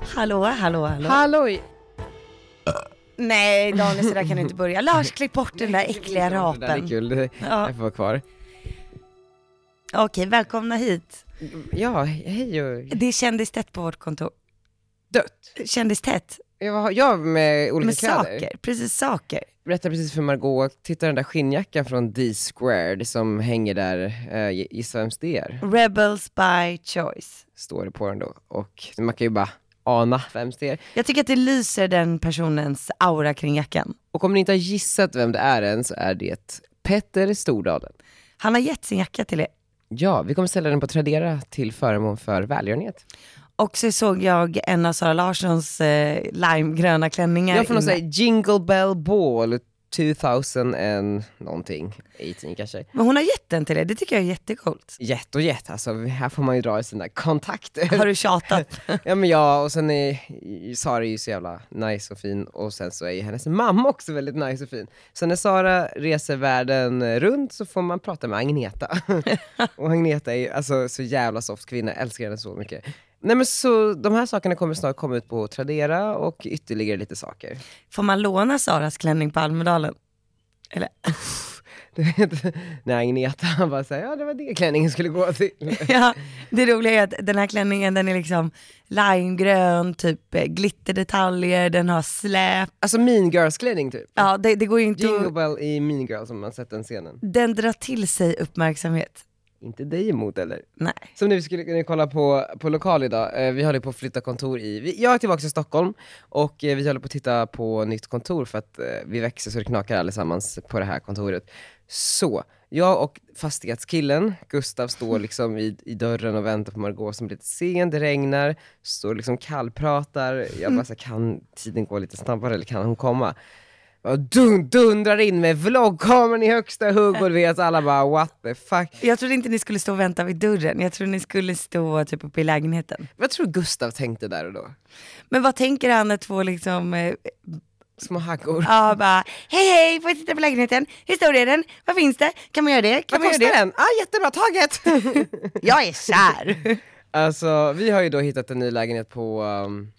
Hallå, hallå, hallå. Halloj! Nej, Daniel, så där kan du inte börja. Lars, klipp bort den där äckliga Det där är rapen. kul, det Ja, jag får vara kvar. Okej, välkomna hit. Ja, hej och... Det är kändistätt på vårt kontor. Dött. Kändistätt Jag var jag med olika med kläder. saker, precis saker. Berättade precis för Margot, titta den där skinnjackan från D-squared som hänger där, eh, gissa vems det är? Rebels by choice. Står det på den då. Och man kan ju bara ana vems det är. Jag tycker att det lyser den personens aura kring jackan. Och om ni inte har gissat vem det är än så är det Petter Stordalen. Han har gett sin jacka till er. Ja, vi kommer sälja den på Tradera till förmån för välgörenhet. Och så såg jag en av Sara Larssons eh, limegröna klänningar. Jag får nog inne. säga Jingle Bell Ball 2000 and någonting, 18 kanske. Men hon har gett den till er, det tycker jag är jättecoolt. Jätt och jätt, alltså här får man ju dra i sina kontakter. Har du tjatat? ja men ja, och sen är Sara är ju så jävla nice och fin och sen så är ju hennes mamma också väldigt nice och fin. Så när Sara reser världen runt så får man prata med Agneta. och Agneta är ju alltså så jävla soft kvinna, jag älskar henne så mycket. Nej men så de här sakerna kommer snart komma ut på Tradera och ytterligare lite saker. Får man låna Saras klänning på Almedalen? Du vet, när Agneta bara säger ja det var det klänningen skulle gå till. Ja, det roliga är att den här klänningen den är liksom limegrön, typ eh, glitterdetaljer, den har släp. Alltså Mean Girls klänning typ. Ja, det, det går ju inte Jingle att... Bell i Mean Girls om man sett den scenen. Den drar till sig uppmärksamhet. Inte dig emot eller? Nej. Som nu skulle kunna kolla på, på lokal idag, eh, vi håller på att flytta kontor i, vi, jag är tillbaka i Stockholm och eh, vi håller på att titta på nytt kontor för att eh, vi växer så det knakar allesammans på det här kontoret. Så, jag och fastighetskillen, Gustav, står liksom i, i dörren och väntar på Margot som är lite sen, det regnar, står liksom kallpratar, jag bara så här, kan tiden gå lite snabbare eller kan hon komma? Och dun, dundrar in med vloggkameran i högsta hugg och du vet alla bara what the fuck. Jag trodde inte ni skulle stå och vänta vid dörren, jag trodde ni skulle stå typ uppe i lägenheten. Vad tror du Gustav tänkte där och då? Men vad tänker han när två liksom, eh, Små hackor. ja bara, hej hej, får jag titta på lägenheten? Hur stor är den? Vad finns det? Kan man göra det? Kan Vad man göra kostar det? den? Ah, jättebra, taget! Jag är kär! alltså, vi har ju då hittat en ny lägenhet på, um,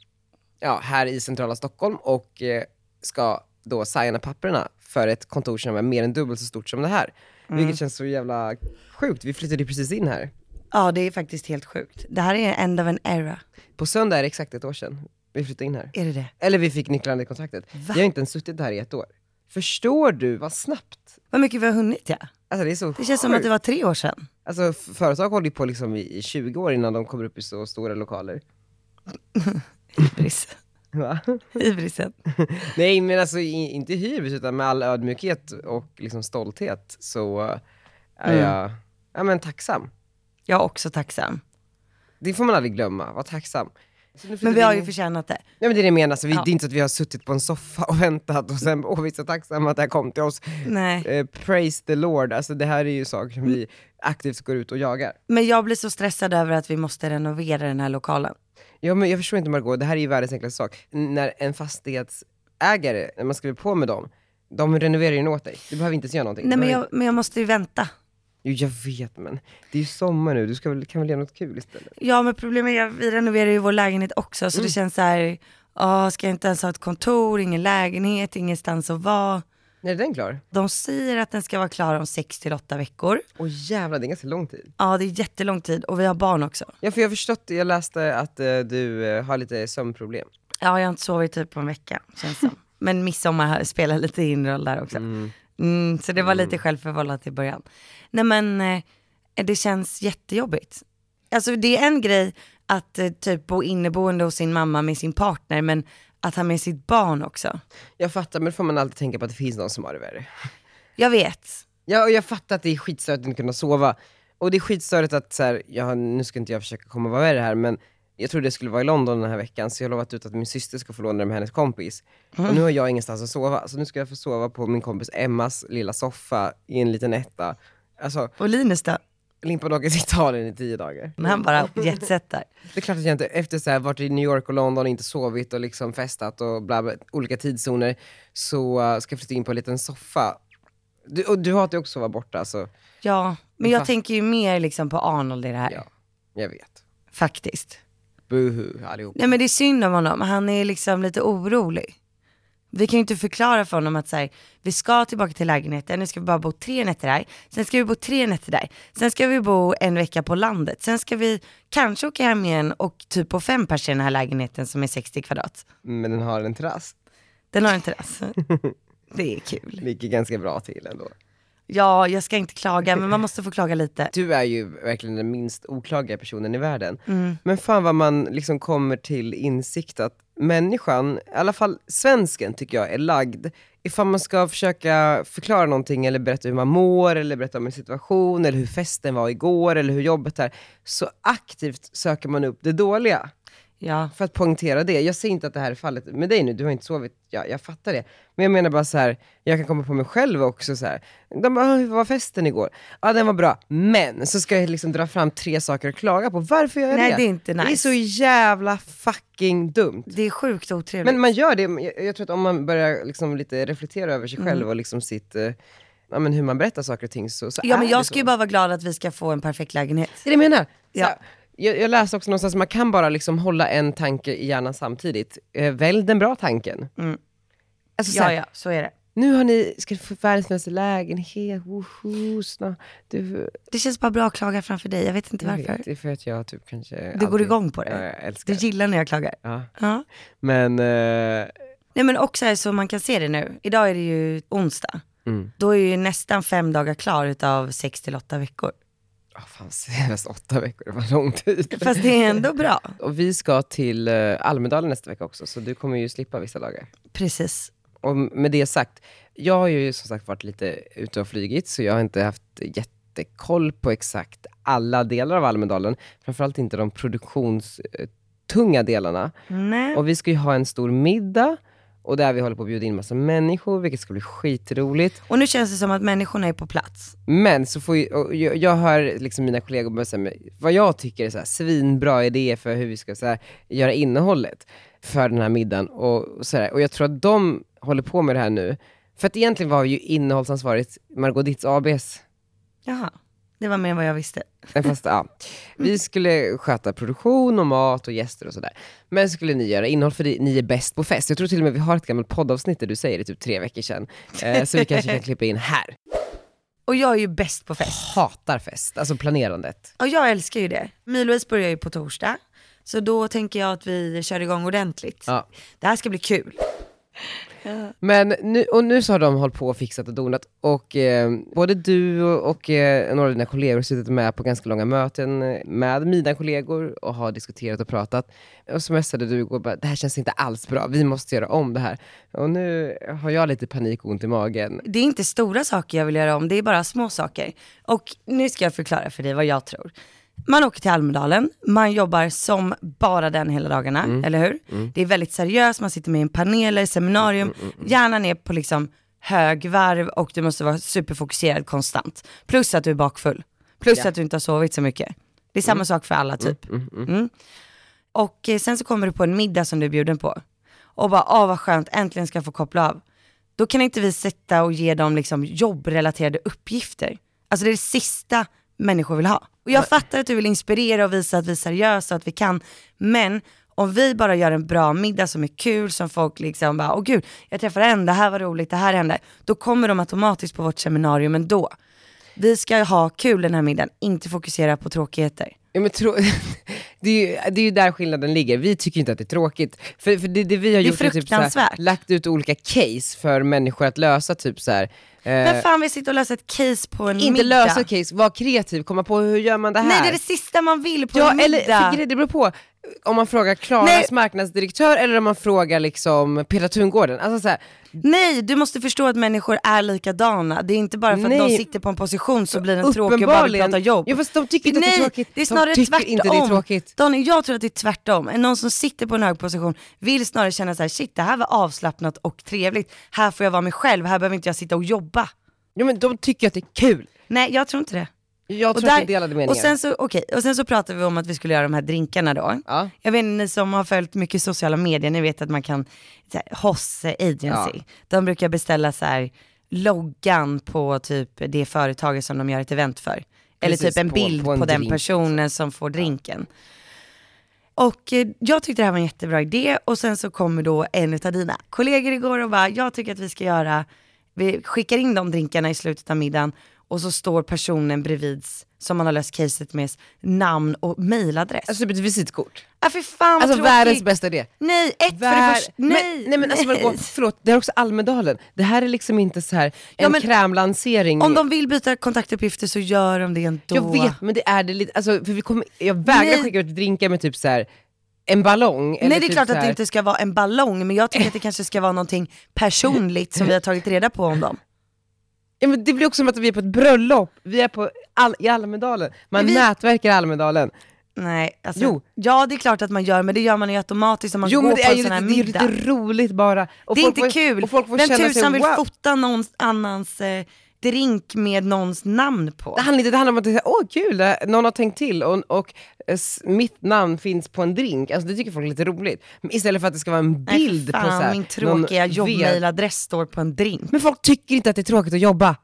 ja, här i centrala Stockholm och eh, ska då signa papperna för ett kontor som är mer än dubbelt så stort som det här. Mm. Vilket känns så jävla sjukt, vi flyttade ju precis in här. ja, det är faktiskt helt sjukt. Det här är end of an era. På söndag är det exakt ett år sedan vi flyttade in här. Är det det? Eller vi fick nycklarna i kontraktet. Vi har inte ens suttit här i ett år. Förstår du vad snabbt? Vad mycket vi har hunnit ja. Alltså det är så Det känns som att det var tre år sedan. Alltså f- företag håller ju på liksom i i 20 år innan de kommer upp i så stora lokaler. Hybris. Va? Hybrisen. Nej men alltså i, inte hybris utan med all ödmjukhet och liksom stolthet så eh, är Mm. jag ja, men tacksam. Jag är också tacksam. Det får man aldrig glömma, var tacksam. Så nu flyttar Men vi har in- ju förtjänat det. Nej men det är det jag menar, alltså, vi, Ja. det är inte så att vi har suttit på en soffa och väntat och sen, åh vi är så tacksamma att det här kom till oss. Nej. Eh, praise the Lord, alltså det här är ju saker som vi aktivt går ut och jagar. Men jag blir så stressad över att vi måste renovera den här lokalen. Ja, men jag förstår inte Margot, det här är ju världens enklaste sak. N- När en fastighetsägare, när man skriver på med dem, de renoverar ju den åt dig. Du behöver inte ens göra någonting. Nej Du men behöver jag, men jag måste ju vänta. inte- Jo, jag vet men, det är ju sommar nu, du ska väl, kan väl göra något kul istället? Ja men problemet är att vi renoverar ju vår lägenhet också så det känns så här, ja ska jag inte ens ha ett kontor, ingen lägenhet, ingenstans att vara. När är den klar? De säger att den ska vara klar om 6 till 8 veckor. Åh jävlar, det är ganska lång tid. Ja det är jättelång tid och vi har barn också. Ja, för jag har förstått, jag läste att eh, du eh, har lite sömnproblem. Ja, jag har inte sovit typ på en vecka, känns som. Men midsommar spelar lite in roll där också. Mm. så det var lite självförvållat i början. Nej men, eh, det känns jättejobbigt. Alltså det är en grej att eh, typ bo inneboende hos sin mamma med sin partner, men att ha med sitt barn också. Jag fattar, men då får man alltid tänka på att det finns någon som har det värre. Jag vet. Ja, och jag fattar att det är skitstörigt att inte kunna sova. Och det är skitstörigt att så här, ja, nu ska inte jag försöka komma och vara värre här, men jag trodde jag skulle vara i London den här veckan, så jag har lovat ut att min syster ska få låna den med hennes kompis. Och nu har jag ingenstans att sova, så nu ska jag få sova på min kompis Emmas lilla soffa i en liten etta. Alltså, Och Linus då? limpan åker till Italien i tio dagar. Men han bara jetsetar. Det är klart att jag inte, efter så här, varit i New York och London och inte sovit och liksom festat och bla bla, olika tidszoner, så eh, ska jag flytta in på en liten soffa. Du, och du hatar ju också att vara borta, så Ja, men jag Fast- tänker ju mer liksom på Arnold i det här, ja, jag vet. faktiskt. Buhu allihop. Nej men det är synd om honom, han är liksom lite orolig. Vi kan ju inte förklara för honom att så här, vi ska tillbaka till lägenheten, nu ska vi bara bo tre nätter där, sen ska vi bo tre nätter där, sen ska vi bo en vecka på landet, sen ska vi kanske åka hem igen och typ på fem personer i den här lägenheten som är 60 kvadrat. Men den har en terrass. Den har en terrass. Det är kul. Ligger ganska bra till ändå. Ja, jag ska inte klaga, men man måste få klaga lite. Du är ju verkligen den minst oklagliga personen i världen. Mm, Men fan vad man liksom kommer till insikt att människan, i alla fall svensken tycker jag, är lagd ifall man ska försöka förklara någonting eller berätta hur man mår eller berätta om en situation eller hur festen var igår eller hur jobbet är. Så aktivt söker man upp det dåliga Ja, för att poängtera det. Jag säger inte att det här är fallet med dig nu, du har inte sovit, jag, jag fattar det. Men jag menar bara så här, jag kan komma på mig själv också så här. De bara, "Ah, hur var festen igår? Ja den var bra, men så ska jag liksom dra fram tre saker att klaga på. Varför gör jag Nej, det? det är inte Det är nice. så jävla fucking dumt. det är sjukt otrevligt. Men man gör det, jag, jag tror att om man börjar liksom lite reflektera över Mm. sig själv och liksom sitt, eh, ja, men hur man berättar saker och ting så, så ja, men är det jag så. ska ju bara vara glad att vi ska få en perfekt lägenhet. Det är det jag menar. Ja. Ja. Jag, jag läste också någonstans, man kan bara liksom hålla en tanke i hjärnan samtidigt. Eh, välj den bra tanken. Mm. Alltså, så Ja, här, ja, så är det. Nu har ni, ska ni få världens bästa lägenhet, woho, snart. Du, Det känns bara bra att klaga framför dig, jag vet inte jag varför. vet, det är för att jag typ kanske... Du går alltid- igång på Ja, det. jag älskar Du det. gillar när jag klagar. Ja. Ja. Men, eh, Nej men också här, så man kan se det nu, idag är det ju onsdag. mm. Då är ju nästan fem dagar klar utav sex till åtta veckor. Oh, fan, senast åtta veckor, det var lång tid. Fast det är ändå bra. Och vi ska till eh, Almedalen nästa vecka också, så du kommer ju slippa vissa dagar. Precis. Och med det sagt, jag har ju som sagt varit lite ute och flygit, så jag har inte haft jättekoll på exakt alla delar av Almedalen. Framförallt inte de produktionstunga delarna. Nej. Och vi ska ju ha en stor middag, och där vi håller på att bjuda in massa människor, vilket ska bli skitroligt. Och nu känns det som att människorna är på plats. Men så får ju, och jag, jag hör liksom mina kollegor börja säga mig vad jag tycker är så här, svinbra idé för hur vi ska så här, göra innehållet för den här middagen. Och, så här. och jag tror att de håller på med det här nu. För att egentligen var ju innehållsansvaret Margot Ditts ABs. Jaha, det var mer än vad jag visste. Nej, Fast, ja. Vi skulle sköta produktion och mat och gäster och sådär. Men skulle ni göra innehåll för det- ni är bäst på fest. Jag tror till och med vi har ett gammalt poddavsnitt där du säger det typ tre veckor sedan. Eh, så vi kanske kan klippa in här. Och jag är ju bäst på fest. Hatar fest, alltså planerandet. Och jag älskar ju det. Milways börjar ju på torsdag. Så då tänker jag att vi kör igång ordentligt. Ja. Det här ska bli kul. Men nu, och nu så har de hållit på och fixat och donat och eh, både du och, och eh, några av dina kollegor har suttit med på ganska långa möten eh, med mina kollegor och har diskuterat och pratat. Och så messade du igår och bara, det här känns inte alls bra, vi måste göra om det här. Och nu har jag lite panik och ont i magen. Det är inte stora saker jag vill göra om, det är bara små saker. Och nu ska jag förklara för dig vad jag tror. Man åker till Almedalen, man jobbar som bara den hela dagarna, eller hur? Det är väldigt seriöst, man sitter med i en panel eller seminarium, hjärnan är på liksom högvarv och du måste vara superfokuserad konstant. Plus att du är bakfull, plus att du inte har sovit så mycket. Det är samma sak för alla typ. Mm. Och eh, sen så kommer du på en middag som du är bjuden på. Och bara, ah vad skönt, äntligen ska jag få koppla av. Då kan inte vi sätta och ge dem liksom jobbrelaterade uppgifter. Alltså det är det sista människor vill ha. Och jag fattar att du vill inspirera och visa att vi är seriösa och att vi kan, men om vi bara gör en bra middag som är kul, som folk liksom bara, åh gud, jag träffade en, det här var roligt, det här hände, då kommer de automatiskt på vårt seminarium ändå. Vi ska ha kul den här middagen, inte fokusera på tråkigheter. Ja, men tro, det, är ju, det är ju där skillnaden ligger. Vi tycker inte att det är tråkigt. För, för det, det vi har Det är gjort typ så här, fruktansvärt. lagt ut olika case för människor att lösa. Typ så här, eh, Vem fan vill sitta och lösa ett case på en inte middag? lösa ett case, var kreativ, komma på hur gör man det här? Nej det är det sista man vill på ja, en eller, middag. för grejen- det beror på om man frågar Klaras Nej. marknadsdirektör eller om man frågar liksom Petra Tungården. Alltså, så här, Nej, du måste förstå att människor är likadana. Det är inte bara för att Nej. de sitter på en position så blir den tråkig och bara vill prata jobb. Ja, fast de tycker inte att det är Nej, tråkigt. det är snarare de tycker inte det är tvärtom. tråkigt. Daniel, jag tror att det är tvärtom. En Någon som sitter på en hög position vill snarare känna så här, shit det här var avslappnat och trevligt. Här får jag vara mig själv, här behöver inte jag sitta och jobba. Ja, men de tycker att det är kul. Nej, jag tror inte det. Jag Och, tror att det är delade meningar. och, sen så, okej, och sen så pratade vi om att vi skulle göra de här drinkarna då. ja. Jag vet inte, ni som har följt mycket sociala medier, ni vet att man kan, så här, Hosse Agency, Ja. de brukar beställa så här, loggan på typ det företaget som de gör ett event för. Eller Precis, typ en på- bild på på, den en drink. personen som får drinken. Och eh, jag tyckte det här var en jättebra idé och sen så kommer då en av dina kollegor igår och bara, jag tycker att vi ska göra, vi skickar in de drinkarna i slutet av middagen och så står personen bredvid som man har löst caset med namn och mailadress. Alltså, Alltså typ ett visitkort. ah, fy fan Alltså vad världens tråkigt. bästa idé. Nej, ett för det Vär- första. Men- Nej, nej men alltså vadå, förlåt, det är också Almedalen. Det här är liksom inte så här en men- krämlansering. Om de vill byta kontaktuppgifter så gör de det ändå. Jag vet, men det är det lite, alltså, för vi kommer, jag vägrar Nej. skicka ut drinkar med typ så här en ballong. eller Nej det är typ klart så att det här- inte ska vara en ballong, men jag tycker att det kanske ska vara någonting personligt som vi har tagit reda på om dem. Ja, men det blir också som att vi är på ett bröllop, vi är på all, i Almedalen. Man Men vi- nätverkar i Almedalen. Nej, alltså, Jo. ja det är klart att man gör, men det gör man ju automatiskt om man Jo går men det på är en ju sån lite, här middag. det är ju lite roligt bara. Och det är folk inte får- kul. Och folk får Vem känna sig, tusan vill wow. fota någon annans eh, drink med någons namn på? Det handlar, inte- det handlar om att det är så här, åh kul, det- någon har tänkt till och, och eh, s- mitt namn finns på en drink. Alltså det tycker folk är lite roligt. Men istället för att det ska vara en Nej, för bild fan, på så här, min någon tråkiga ved- jobbmailadress står på en drink. Men folk tycker inte att det är tråkigt att jobba.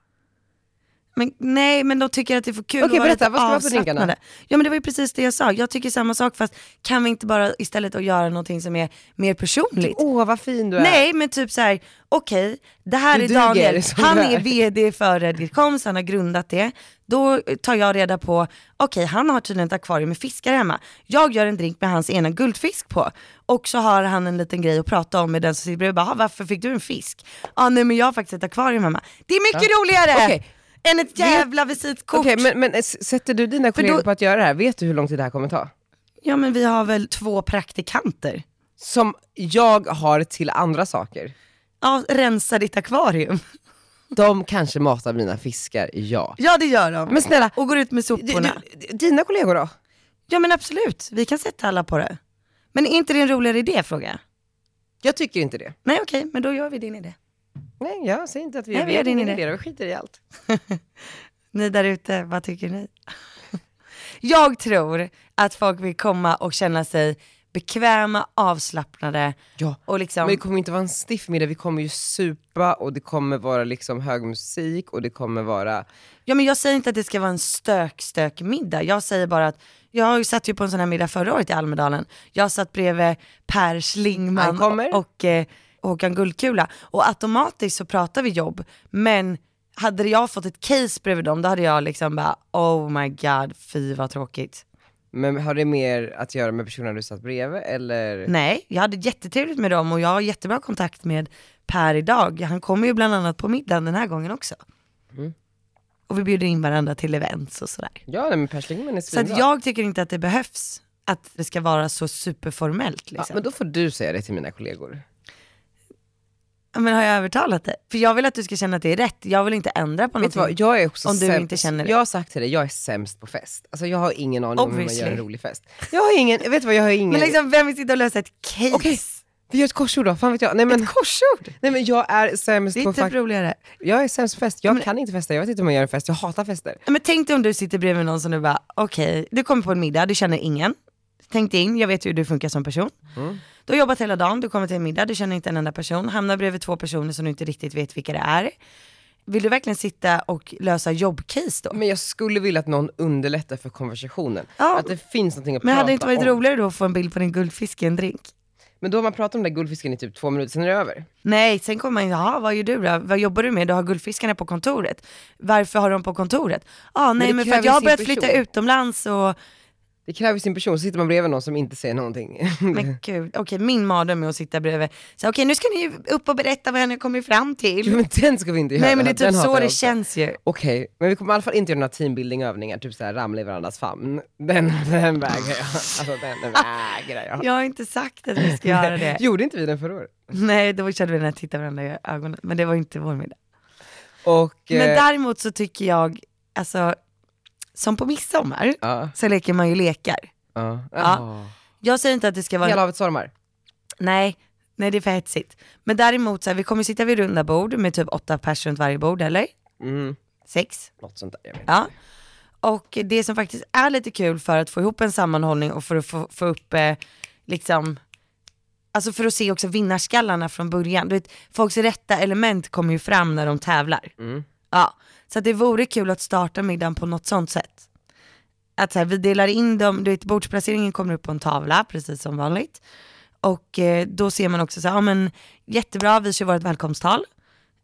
Men, nej, men de tycker att det är för kul Okej, att vara berätta, lite vad ska det vara för drinkarna? avslappnade. Ja men det var ju precis det jag sa, jag tycker samma sak fast kan vi inte bara istället att göra någonting som är mer personligt? Typ, Åh vad fin du är. Nej men typ så här: okej, det här eh, Du är duger Daniel, som han du är är. VD för Redgert Koms, han har grundat det. Då tar jag reda på, okej han har tydligen ett akvarium med fiskar hemma. Jag gör en drink med hans ena guldfisk på. Och så har han en liten grej att prata om med den som sitter bredvid och bara, "Ah, varför fick du en fisk? Ja nej men jag har faktiskt ett akvarium hemma. Det är mycket roligare! Okej. Än ett jävla visitkort. Okej men, men eh, s- sätter du dina kollegor då- på att göra det här, vet du hur lång tid det här kommer ta? Ja men vi har väl två praktikanter. Som jag har till andra saker. Ja, rensa ditt akvarium. De kanske matar mina fiskar, ja. Ja det gör de. Men snälla, och går ut med d- soporna. d- dina kollegor då? Ja men absolut, vi kan sätta alla på det. Men är inte det en roligare idé frågar jag? Jag tycker inte det. Nej okej, men då gör vi din idé. Nej, jag säger inte att vi Nej, är vi gör din idé. Vi skiter i allt. Ni där ute, vad tycker ni? jag tror att folk vill komma och känna sig bekväma, avslappnade Ja. och liksom... Men det kommer inte vara en stiff middag, vi kommer ju supa och det kommer vara liksom hög musik och det kommer vara... Ja men jag säger inte att det ska vara en stök, stök middag. Jag säger bara att jag satt ju på en sån här middag förra året i Almedalen. Jag satt bredvid Per Han Schlingman kommer. och, och eh, Håkan Guldkula. Och automatiskt så pratar vi jobb, men hade jag fått ett case bredvid dem då hade jag liksom bara oh my god, fy vad tråkigt. Men har det mer att göra med personerna du satt bredvid eller? Nej, jag hade jättetrevligt med dem och jag har jättebra kontakt med Per idag. Han kommer ju bland annat på middagen den här gången också. Mm. Och vi bjuder in varandra till events och sådär. Ja, nej, men Per Schlingmann är Så svinbra. att jag tycker inte att det behövs att det ska vara så superformellt. ja, Liksom. men då får du säga det till mina kollegor. men, har jag övertalat dig? För jag vill att du ska känna att det är rätt. Jag vill inte ändra på Vet du någonting. vad, jag är också Om du sämst. inte känner det. Jag har sagt till dig, jag är sämst på fest. Alltså jag har ingen aning om hur man gör en Obviously. rolig fest. Jag har ingen, vet du vad, jag har ingen... Men liksom, vem vill sitta och lösa ett case? Okej, vi gör ett korsord då, fan vet jag. Nej men, Korsord! nej, men jag är sämst Det är på typ fakt- roligare. Jag är sämst på fest, jag Men- kan inte festa, jag vet inte hur man gör en fest, jag hatar fester. Men tänk dig om du sitter bredvid någon som du bara, okej, du kommer på en middag, du känner ingen. Tänk dig in, jag vet ju hur du funkar som person. Mm. Du har jobbat hela dagen, du kommer till en middag, du känner inte en enda person, hamnar bredvid två personer som du inte riktigt vet vilka det är. Vill du verkligen sitta och lösa jobbcase då? Men jag skulle vilja att någon underlättar för konversationen. Ja. Att det finns någonting att Men prata hade det inte varit om. roligare då att få en bild på din guldfisk i en drink? Men då har man pratat om den där guldfisken i typ två minuter, sen är det över. Nej, sen kommer man, jaha vad gör du då? Vad jobbar du med? Du har guldfiskarna på kontoret. Varför har de på kontoret? ah, nej det men, för kräver att jag har sin börjat person. flytta utomlands och, Det kräver sin person, så sitter man bredvid någon som inte säger någonting. men gud, okej min mardröm är att sitta bredvid. Så okej nu ska ni ju upp och berätta vad ni har kommit fram till. Jo, men den ska vi inte göra. nej men det är typ Den så hatar det jag också. känns ju. Okej, men vi kommer i alla fall inte göra några teambuilding-övningar, typ såhär ramla i varandras famn. Den, den vägrar jag. Alltså den vägrar jag. Jag har inte sagt att vi ska göra det. Gjorde inte vi den förra året? Nej, då körde vi den här titta varandra i ögonen. Men det var inte vår middag. Och... Men eh, däremot så tycker jag, alltså, som på midsommar Ja, så leker man ju lekar. ja. Ja. ja. Jag säger inte att det ska vara Hela havet stormar. Nej, nej det är för hetsigt. Men däremot så här, vi kommer sitta vid runda bord med typ åtta personer runt varje bord, eller? Mm, Sex? något sånt där. Jag vet. inte. Ja. Och det som faktiskt är lite kul för att få ihop en sammanhållning och för att få, få upp eh, liksom Alltså för att se också vinnarskallarna från början. Du vet, folks rätta element kommer ju fram när de tävlar. Mm. Ja. Så att det vore kul att starta middagen på något sånt sätt. att så här, vi delar in dem, du vet bordsplaceringen kommer upp på en tavla precis som vanligt. Och eh, då ser man också så här, ja men jättebra, vi kör vårt välkomsttal.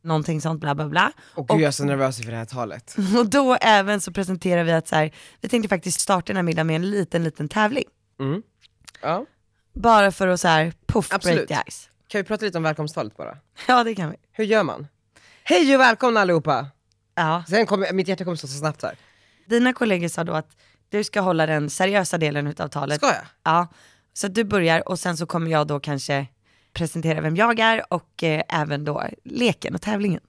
Någonting sånt bla bla bla. Och gud, jag är så nervös inför det här talet. Och då även så presenterar vi att så här, vi tänkte faktiskt starta den här middagen med en liten, liten tävling. Mm. Ja. Bara för att så här, poff, Absolut. break the ice. Kan vi prata lite om välkomsttalet bara? Ja det kan vi. Hur gör man? Hej och välkomna allihopa! Ja. Sen kommer, mitt hjärta kommer slå så snabbt här. Dina kollegor sa då att du ska hålla den seriösa delen utav talet. Ska jag? Ja, så att du börjar och sen så kommer jag då kanske presentera vem jag är och eh, även då leken och tävlingen.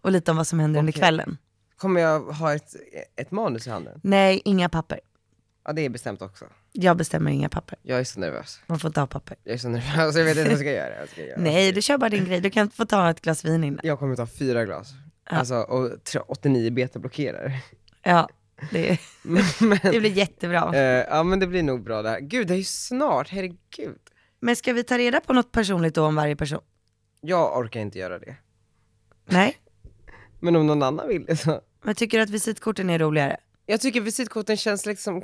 Och lite om vad som händer under Okej. kvällen. Kommer jag ha ett, ett manus i handen? Nej, inga papper. Ja det är bestämt också. Jag bestämmer inga papper. Jag är så nervös. Man får inte ha papper. Jag är så nervös, jag vet inte vad jag ska göra. Jag, ska göra. Nej, du kör bara din grej. Du kan få ta ett glas vin innan. jag kommer ta fyra glas. Alltså, och tre- 89 betablockerare. Ja, det, men, det blir jättebra. eh, ja men det blir nog bra det här. Gud det är ju snart, herregud. Men ska vi ta reda på något personligt då om varje person? Jag orkar inte göra det. Nej, Men om någon annan vill det så. men tycker du att visitkorten är roligare? Jag tycker visitkorten känns liksom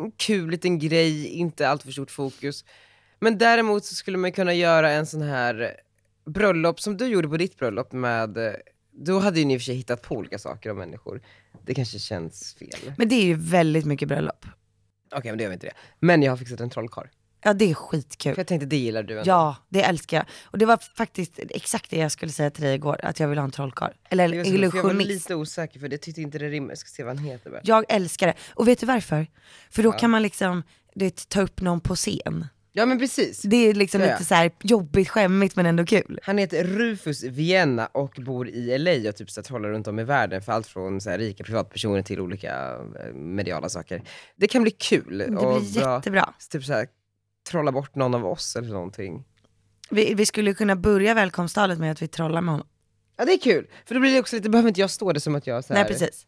en kul liten grej, inte allt för stort fokus. Men däremot så skulle man kunna göra en sån här bröllop som du gjorde på ditt bröllop med, eh, då hade ju ni i och för sig hittat på olika saker om människor. Det kanske känns fel. Okej Men det är ju väldigt mycket bröllop. men det gör vi inte det. Men jag har fixat en trollkarl. Ja, det är skitkul. För jag tänkte det gillar du ändå. Ja, det älskar jag. Och det var faktiskt exakt det jag skulle säga till dig igår, att jag vill ha en trollkarl. Eller en Det var så kul, för jag var illusionist. lite osäker för det tyckte inte det rimmade. Jag ska se vad han heter bara. Jag älskar det. Och vet du varför? För då kan man liksom, du vet, ta upp någon på scen. Ja men precis. Det är liksom Ja, ja. lite så här jobbigt, skämmigt men ändå kul. Han heter Rufus Vienna och bor i LA och typ så här trollar runt om i världen för allt från så här rika privatpersoner till olika eh, mediala saker. Det kan bli kul. Det och blir bra. jättebra. Typ så här, trolla bort någon av oss eller någonting. Vi, vi skulle kunna börja välkomsttalet med att vi trollar med honom. Ja det är kul, för då blir det också lite, behöver inte jag stå det som att jag så här, Nej precis.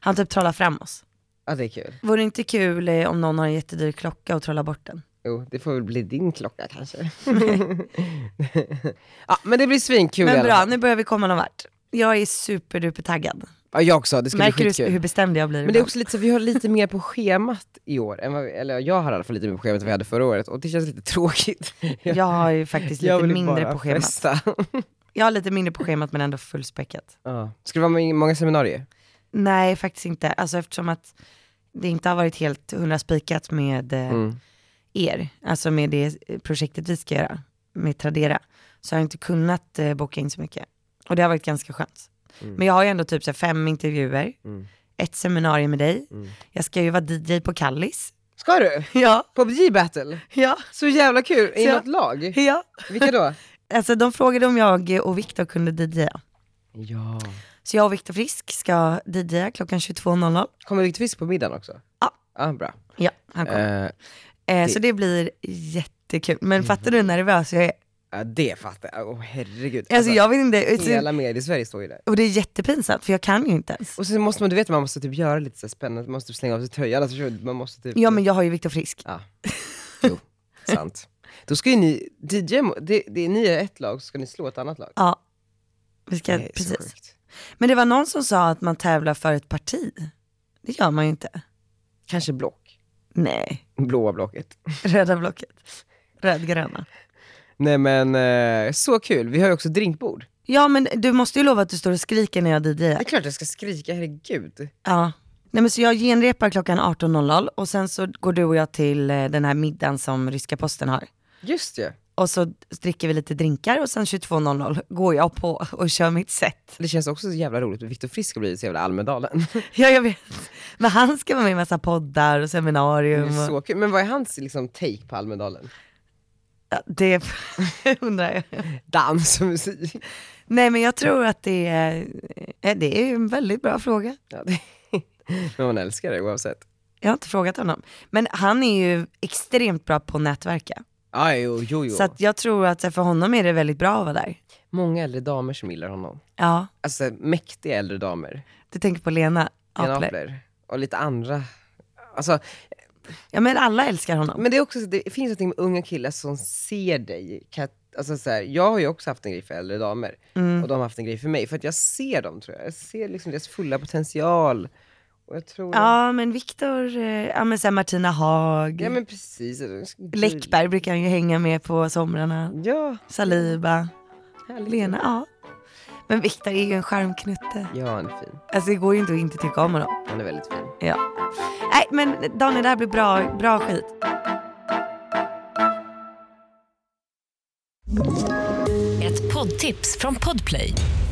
Han typ trollar fram oss. Ja det är kul. Vore det inte kul eh, om någon har en jättedyr klocka och trollar bort den? Jo, det får väl bli din klocka kanske. ja men det blir svinkul i Men alla bra, fall. nu börjar vi komma någon vart. Jag är superduper taggad. Ja jag också, det ska bli Märker skitkul. du hur bestämd jag blir? Men det är ibland? också lite så, vi har lite mer på schemat i år, än vad vi, eller jag har i alla fall lite mer på schemat än vad vi hade förra året och det känns lite tråkigt. Jag har ju faktiskt Jag lite vill mindre bara på schemat. festa. Jag har lite mindre på schemat men ändå fullspäckat. ja. Ska det vara många- många seminarier? Nej faktiskt inte, alltså eftersom att det inte har varit helt hundra spikat med eh, Mm. er, alltså med det eh, projektet vi ska göra med Tradera, så har jag inte kunnat eh, boka in så mycket. Och det har varit ganska skönt. Men jag har ju ändå typ så här, fem intervjuer, ett seminarium med dig, jag ska ju vara DJ på Kallis. Ska du? Ja, På J-battle? ja, Så jävla kul! I Ja. något lag? ja. Vilka då? Alltså de frågade om jag och Viktor kunde DJa. ja. Så jag och Viktor Frisk ska DJa klockan 22.00. Kommer Viktor Fisk på middagen också? Ja. Ja, bra. Ja, han kom. Eh, eh, så det Mm. blir jättekul. Men fattar du hur nervös jag är? ja, det fattar jag. Åh herregud. Alltså jag vet inte. Så, Hela medie-Sverige står ju där. och det är jättepinsamt för jag kan ju inte ens. Och så måste man, du vet man måste typ göra lite så här spännande, man måste typ slänga av sig tröjan, alltså, förstår du? man måste typ... Ja men jag har ju Viktor Frisk. Ja. Jo, sant. Då ska ju ni, DJ, mo- det, det är ni är ett lag, så ska ni slå ett annat lag. Ja. Vi ska, Det är så precis. sjukt. Men det var någon som sa att man tävlar för ett parti. Det gör man ju inte. Kanske block. Nej, Blåa blocket. röda blocket. Rödgröna. Nej men, eh, så kul. Vi har ju också drinkbord. Ja men du måste ju lova att du står och skriker när jag Det DJar. är klart jag ska skrika, herregud. Ja. Nej, men så jag genrepar klockan 18.00 och sen så går du och jag till eh, den här middagen som ryska posten har. Just det. Och så dricker vi lite drinkar och sen 22.00 går jag på och kör mitt set. Det känns också så jävla roligt. Viktor Frisk har blivit så jävla Almedalen. Ja jag vet. Men han ska vara med i massa poddar och Det seminarium. är Och, så kul. Men vad är hans liksom, take på Almedalen? ja, det undrar jag. Dans och musik. Nej men jag tror att det är, eh, det är ju en väldigt bra fråga. Ja, det... Men man älskar det oavsett. Jag har inte frågat honom. Men han är ju extremt bra på att nätverka. Ah, jo, jo, jo. Så att jag tror att eh, för honom är det väldigt bra att vara där. Många äldre damer som gillar honom. Ja, Alltså mäktiga äldre damer. du tänker på Lena Lena Apler. Apler. Och lite andra. Alltså, Ja men alla älskar honom. men det är också så- det finns någonting med unga killar som ser dig. Kan jag- Alltså så här, jag har ju också haft en grej för äldre Mm. damer. Och de har haft en grej för mig. För att jag ser dem tror jag. Jag ser liksom deras fulla potential. Och jag tror... Ja men Viktor, eh, ja men sen Martina Haag, Ja men precis. det är så kul. Läckberg brukar han ju hänga med på somrarna, Ja, Saliba, härligt. Lena, ja. Men Viktor är ju en charmknutte. Ja, han är fin. Alltså det går ju inte att inte tycka om honom. Han är väldigt fin. Ja. Nej men Daniel det här blir bra, bra skit. Ett poddtips från Podplay.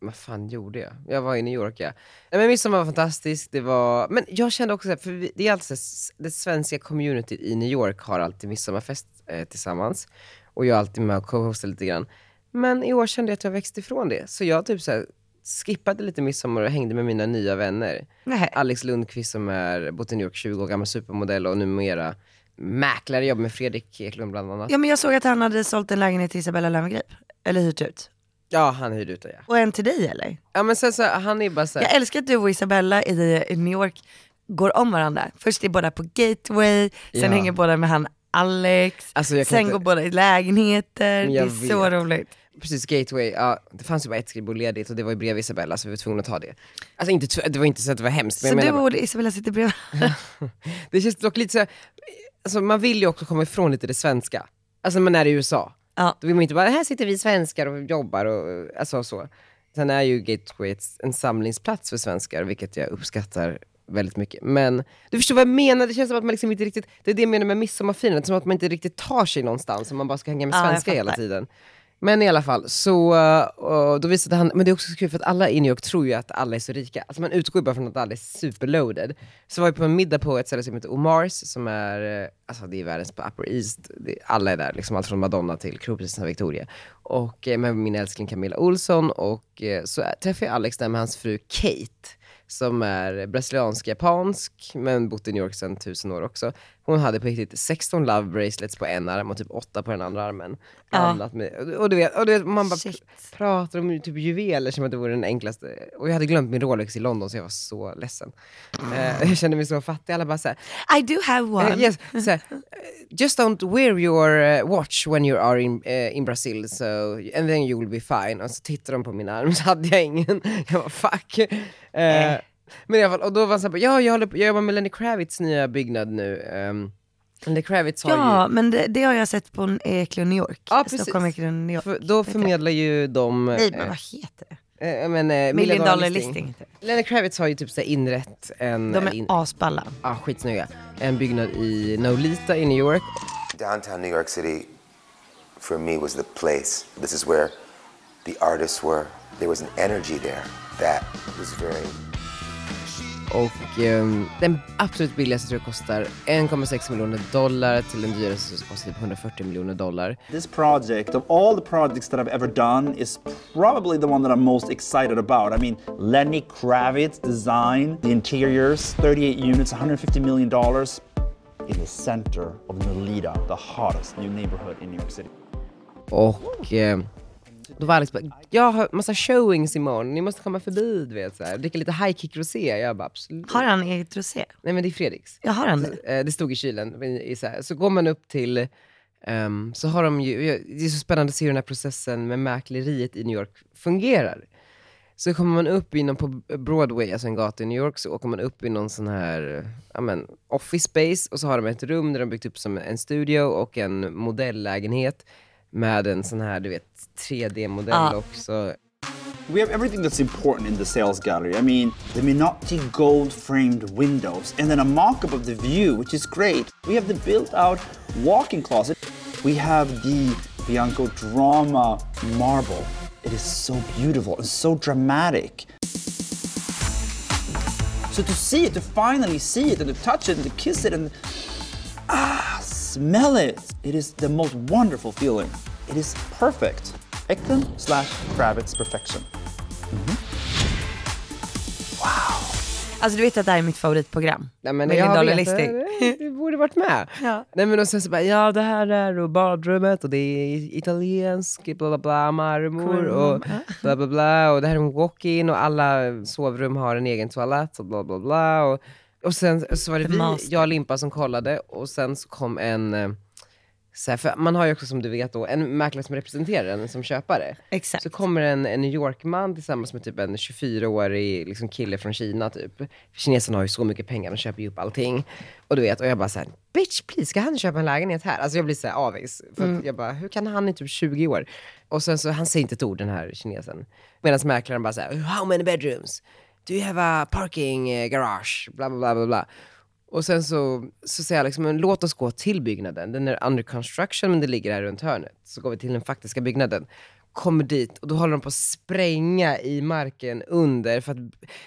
vad fan gjorde jag? Jag var i New York ja. Nej, men midsommar var fantastisk, det var, men jag kände också så här, för vi, det är alltid så här, s- det svenska communityt i New York har alltid midsommarfest eh, tillsammans. Och jag är alltid med och co-hostar lite grann. Men i år kände jag att jag växte ifrån det. Så jag typ så här, skippade lite midsommar och hängde med mina nya vänner. Nej. Alex Lundqvist som är, bott i New York 20 år, gammal supermodell och numera mäklare, jobbar med Fredrik Eklund bland annat. Ja men jag såg att han hade sålt en lägenhet till Isabella Löwengrip. Eller hyrt ut. Ja, han hyrde ut det ja. Och en till dig eller? Ja men sen så, han är bara så här, Jag älskar att du och Isabella i i New York går om varandra. Först är båda på Gateway, sen Ja. hänger båda med han Alex, Alltså, jag kan sen inte- går båda i lägenheter. Men Det är jag så vet. roligt. Precis, Gateway, ja, det fanns ju bara ett skrivbord ledigt och det var ju bredvid Isabella så vi var tvungna att ta det. Alltså inte, tv- det var inte så att det var hemskt, men Så jag du menar bara, och Isabella sitter bredvid det känns dock lite så här, alltså man vill ju också komma ifrån lite det svenska. Alltså när man är i USA, Ja. då vill man inte bara, här sitter vi svenskar och jobbar och alltså så. Sen är ju Gateway ett- en samlingsplats för svenskar, vilket jag uppskattar väldigt mycket. Men du förstår vad jag menar, det känns som att man liksom inte riktigt, det är det jag menar med midsommarfirandet, som att man inte riktigt tar sig någonstans om man bara ska hänga med Ja, jag svenskar hela fattar. tiden. Men i alla fall, så eh, och då visade han, men det är också så kul för att alla i New York tror ju att alla är så rika. Alltså man utgår ju bara från att alla är superloaded. Så var jag på en middag på ett ställe som heter Omars, som är, eh, alltså det är världens på Upper East. Det, alla är där, liksom allt från Madonna till kronprinsessan Victoria. Och eh, med min älskling Camilla Olsson och eh, så träffade jag Alex där med hans fru Kate som är brasiliansk-japansk, men bott i New York sedan tusen år också. Hon hade på riktigt 16 love bracelets på en arm och typ 8 på den andra armen. Ja. Annat med, och du vet, och du vet man bara Shit. pr- pratar om typ juveler som att det vore den enklaste. Och jag hade glömt min Rolex i London så jag var så ledsen. Eh, jag kände mig så fattig. Alla bara såhär, I do have one. eh, yes, så här, eh, just don't wear your eh, watch when you are in, eh, in Brazil so, and then you'll be fine. Och så tittade de på min arm så hade jag ingen. jag var fuck. Eh, Eh. Men i alla fall, och då var han såhär, ja jag, håller på, jag jobbar med Lenny Kravitz nya byggnad nu. Um, Lenny Kravitz har ju... Ja, men det, det har jag sett på Eklund New York. Ja, precis. Stockholm Eklund New York. För, då förmedlar ju de... Nej, men vad heter det? eh, eh, men, eh, Million Dollar Listing. heter det. Lenny Kravitz har ju typ så här inrett en... De är in, asballa. ah, skitsnygga. En byggnad i Nolita i New York. Downtown New York City, for me, was the place. This is where the artists were. There was an energy there that was very Och ehm, den absolut billigaste tror jag kostar 1,6 miljoner dollar till den dyraste som kostar typ 140 miljoner dollar. This project, of all the projects that I've ever done, is probably the one that I'm most excited about. I mean, Lenny Kravitz design, the interiors, 38 units, $150 million in the center of Nolita, the hottest new neighborhood in New York City. Och ehm, då var Alex bara, jag har massa showings imorgon, ni måste komma förbi du vet såhär. Dricka lite high kick rosé. Jag bara absolut. Har han eget rosé? Nej men det är Fredriks. Jag har han Så, nu. eh, det stod i kylen. men I, så, här. så går man upp till, ehm, så har de ju, jag- det är så spännande att se hur den här processen med mäkleriet i New York fungerar. Så kommer man upp i någon på Broadway, alltså en gata i New York, så åker man upp i någon sån här, eh, ja men, office space och så har de ett rum där de byggt upp som en studio och en modelllägenhet med en sån här, du vet, 3D-modell Ja. också. We have everything that's important in the sales gallery. I mean, the Minotti gold framed windows, and then a mock up of the view, which is great. We have the built out walk in closet. We have the Bianco drama marble. It is so beautiful and so dramatic. So to see it, to finally see it, and to touch it, and to kiss it, and ah, smell it. It is the most wonderful feeling. It is perfect. Ekdom slash Kravitz perfection. Alltså du vet att det här är mitt favoritprogram? Nej, men Million jag Dollar vet det. Listing. Du borde varit med. Ja. Nej men och sen så bara, ja det här är och badrummet och det är italiensk bla bla bla marmor och bla bla bla och det här är en walk-in och alla sovrum har en egen toalett och bla bla bla. Och, och sen så var det The vi, master. jag och Limpa som kollade och sen så kom en eh, så här, för man har ju också som du vet då, en mäklare som representerar en som köpare. Exakt. Så kommer en, en New York-man tillsammans med typ en 24-årig liksom kille från Kina typ. För kineserna har ju så mycket pengar, de köper ju upp allting. Och du vet, och jag bara såhär, bitch please, ska han köpa en lägenhet här? Alltså jag blir såhär avis. För att jag bara, hur kan han i typ 20 år? Och sen så, han säger inte ett ord den här kinesen. Medan mäklaren bara såhär, how many bedrooms? Do you have a parking eh, garage? Bla bla bla bla bla. Och sen så, så säger jag liksom, men låt oss gå till byggnaden. Den är under construction, men det ligger här runt hörnet. Så går vi till den faktiska byggnaden. Kommer dit och då håller de på att spränga i marken under för att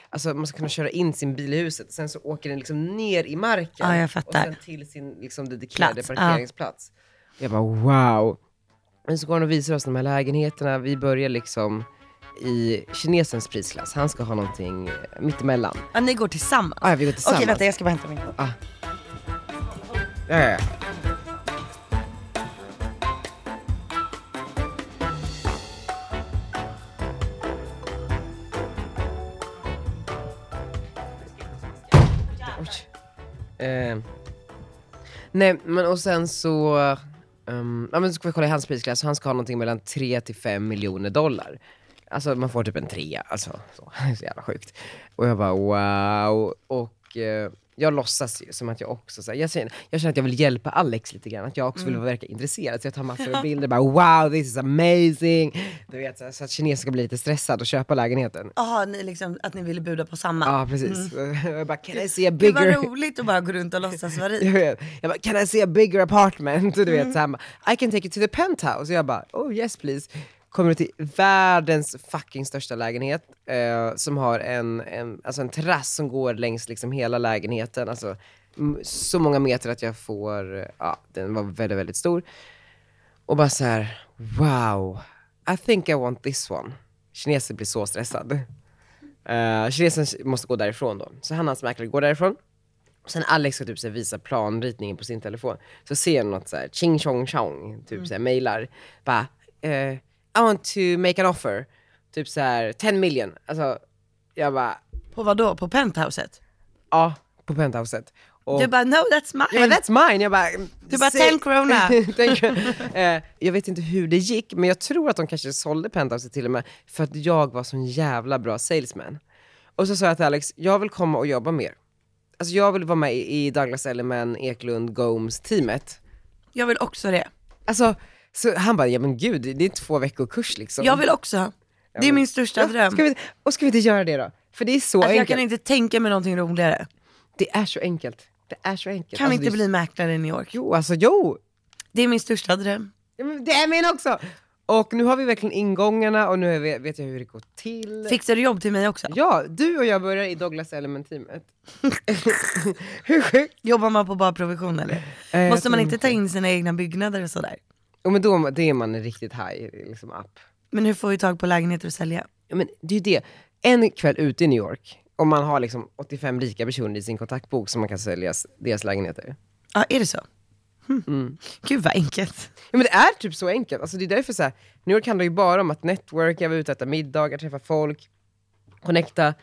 alltså, man ska kunna köra in sin bil i huset. Sen så åker den liksom ner i marken. Ja, jag fattar. Och sen till sin liksom, dedikerade Plats, ja. parkeringsplats. Jag bara wow. Men så går han och visar oss de här lägenheterna. Vi börjar liksom i kinesens prisklass. Han ska ha någonting eh, mittemellan. Ja, ni går tillsammans? Ah, vi går tillsammans. Okej vänta jag ska bara hämta min kopp. Ja, ja, ja. Oj. Eh, nej, men och sen så... ehm, ja, men så ska vi kolla i hans prisklass, han ska ha någonting mellan 3 till 5 miljoner dollar. Alltså man får typ en trea, alltså. Så, det är så jävla sjukt. Och jag bara wow. Och eh, jag låtsas ju som att jag också, så här, jag, känner, jag känner att jag vill hjälpa Alex lite grann, att jag också vill verka intresserad. Så jag tar massor av bilder bara wow this is amazing. Du vet, så, här, så att kinesen ska bli lite stressad och köpa lägenheten. Jaha, ni liksom, att ni ville buda på samma? Ja precis. Jag bara can I see a Gud vad bigger... roligt att bara gå runt och låtsas vara Jag rik. vet. Jag bara, can I see a bigger apartment? Och du vet, så han bara, I can take you to the penthouse. Och jag bara, oh yes please. Kommer du till världens fucking största lägenhet eh, som har en, en, alltså en terrass som går längs liksom hela lägenheten. Alltså, m- så många meter att jag får, eh, ja den var väldigt, väldigt stor. Och bara så här, wow, I think I want this one. Kinesen blir så stressad. Eh, kinesen måste gå därifrån då. Så han och hans mäklare går därifrån. Sen Alex ska typ så här visa planritningen på sin telefon. Så ser jag något så här, ching chong chong, Mm. typ så här mejlar. Bara, eh, I want to make an offer. Typ så här 10 million. Alltså, jag bara, På vad då? På penthouset? ja, på penthouset. Och, Du bara no that's mine. jag bara, that's mine. Jag bara, Du bara, "Säg-" 10 krona. Tänk- eh, jag vet inte hur det gick, men jag tror att de kanske sålde penthouset till och med för att jag var sån jävla bra salesman. Och så sa jag till Alex, jag vill komma och jobba mer. Alltså jag vill vara med i i Douglas Elliman, Eklund, Gomes-teamet. Jag vill också det. Alltså, så han bara, ja men gud, det är två veckor kurs liksom. Jag vill också. Det är min största dröm. Ska vi, och ska vi inte göra det då? För det är så Alltså, jag enkelt. kan inte tänka mig någonting roligare. Det är så enkelt. Det är så enkelt. Kan vi alltså, inte det är... bli mäklare i New York? Jo, alltså jo! Det är min största dröm. Ja, men Det är min också! Och nu har vi verkligen ingångarna och nu är vi, vet jag hur det går till. Fixar du jobb till mig också? Ja, du och jag börjar i Douglas Element-teamet. hur sjukt? Jobbar man på bara provision eller? jag Måste man tror inte ta in sina egna byggnader och sådär? Jo men då det är man en riktigt high liksom, app. Men hur får vi tag på lägenheter att sälja? Ja, men det är ju det. En kväll ute i New York, om man har liksom 85 rika personer i sin kontaktbok som man kan sälja s- deras lägenheter. Ja, är det så? Hm. Gud vad enkelt. Ja, men det är typ så enkelt. Alltså, det är därför så här, New York handlar ju bara om att networka, vara ute och äta middagar, träffa folk, connecta,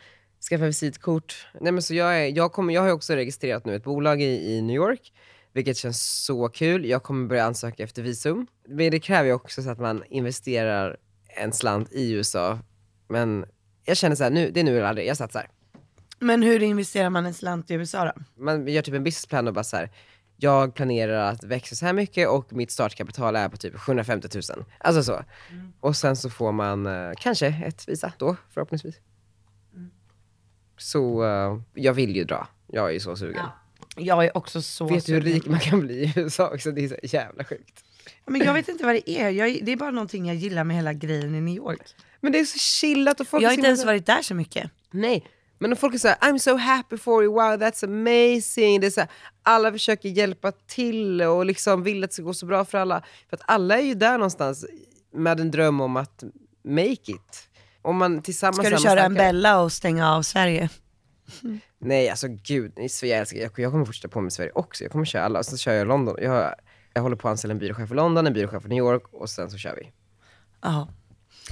skaffa visitkort. Nej, men så jag, är, jag, kommer, jag har ju också registrerat nu ett bolag i, i New York, vilket känns så kul. Jag kommer börja ansöka efter visum. Men det kräver ju också så att man investerar en slant i USA. Men jag känner så här, nu, det är nu eller aldrig. Jag satsar. Men hur investerar man en slant i USA då? Man gör typ en businessplan och bara så här. Jag planerar att växa så här mycket och mitt startkapital är på typ 750 000. Alltså så. Mm. Och sen så får man eh, kanske ett visa då, förhoppningsvis. Mm. Så eh, jag vill ju dra. Jag är ju så sugen. Jag är också så Vet du hur sugen. rik man kan bli i USA också? Det är så jävla sjukt. Men jag vet inte vad det är. Jag, det är bara någonting jag gillar med hela grejen i New York. Men det är så chillat och folk Jag är har så inte ens himla- varit där så mycket. Nej, men om folk är så här, I'm so happy for you, wow that's amazing. Det är så här, alla försöker hjälpa till och liksom vill att det ska gå så bra för alla. För att alla är ju där någonstans med en dröm om att make it. Om man tillsammans Ska du samma köra en snackar- Bella och stänga av Sverige? Nej, alltså gud. i Sverige, jag, älskar, jag, jag kommer fortsätta på med Sverige också. Jag kommer köra alla. Så kör jag London. Jag, jag håller på att anställa en byråchef i London, en byråchef i New York och sen så kör vi. Ja.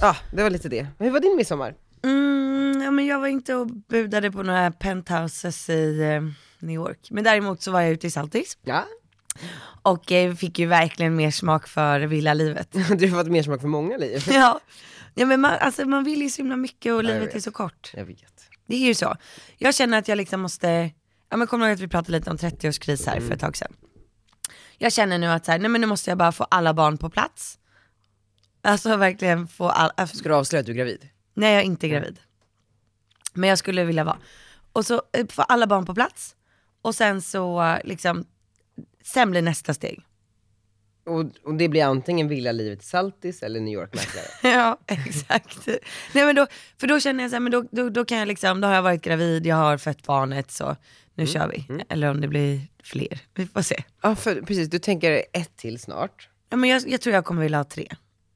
Ja, ah, det var lite det. Men hur var din midsommar? Mm, ja, men jag var inte och budade på några penthouses i eh, New York. Men däremot så var jag ute i Saltis Ja. och eh, fick ju verkligen mer smak för villalivet. Du har fått mer smak för många liv. ja. ja men man, alltså, man vill ju så himla mycket och jag livet vet. är så kort. Jag vet. Det är ju så. Jag känner att jag liksom måste, ja men kommer du ihåg att vi pratade lite om 30-årskris här för ett tag sedan. Jag känner nu att så här, nej men nu måste jag bara få alla barn på plats. Alltså verkligen få all, alltså, Ska du avslöja att du är gravid? nej jag är inte gravid. Men jag skulle vilja vara. Och så eh, få alla barn på plats och sen så eh, liksom, sen blir nästa steg. Och, och det blir antingen villalivet i Saltis eller New York-mäklare. Ja, exakt. Nej, men då, för då känner jag så här, men då, då, då kan jag liksom, då har jag varit gravid, jag har fött barnet så nu Mm, kör vi. Eller om det blir fler, vi får se. Ja, för, precis. Du tänker ett till snart. Ja, men jag, jag tror jag kommer vilja ha tre.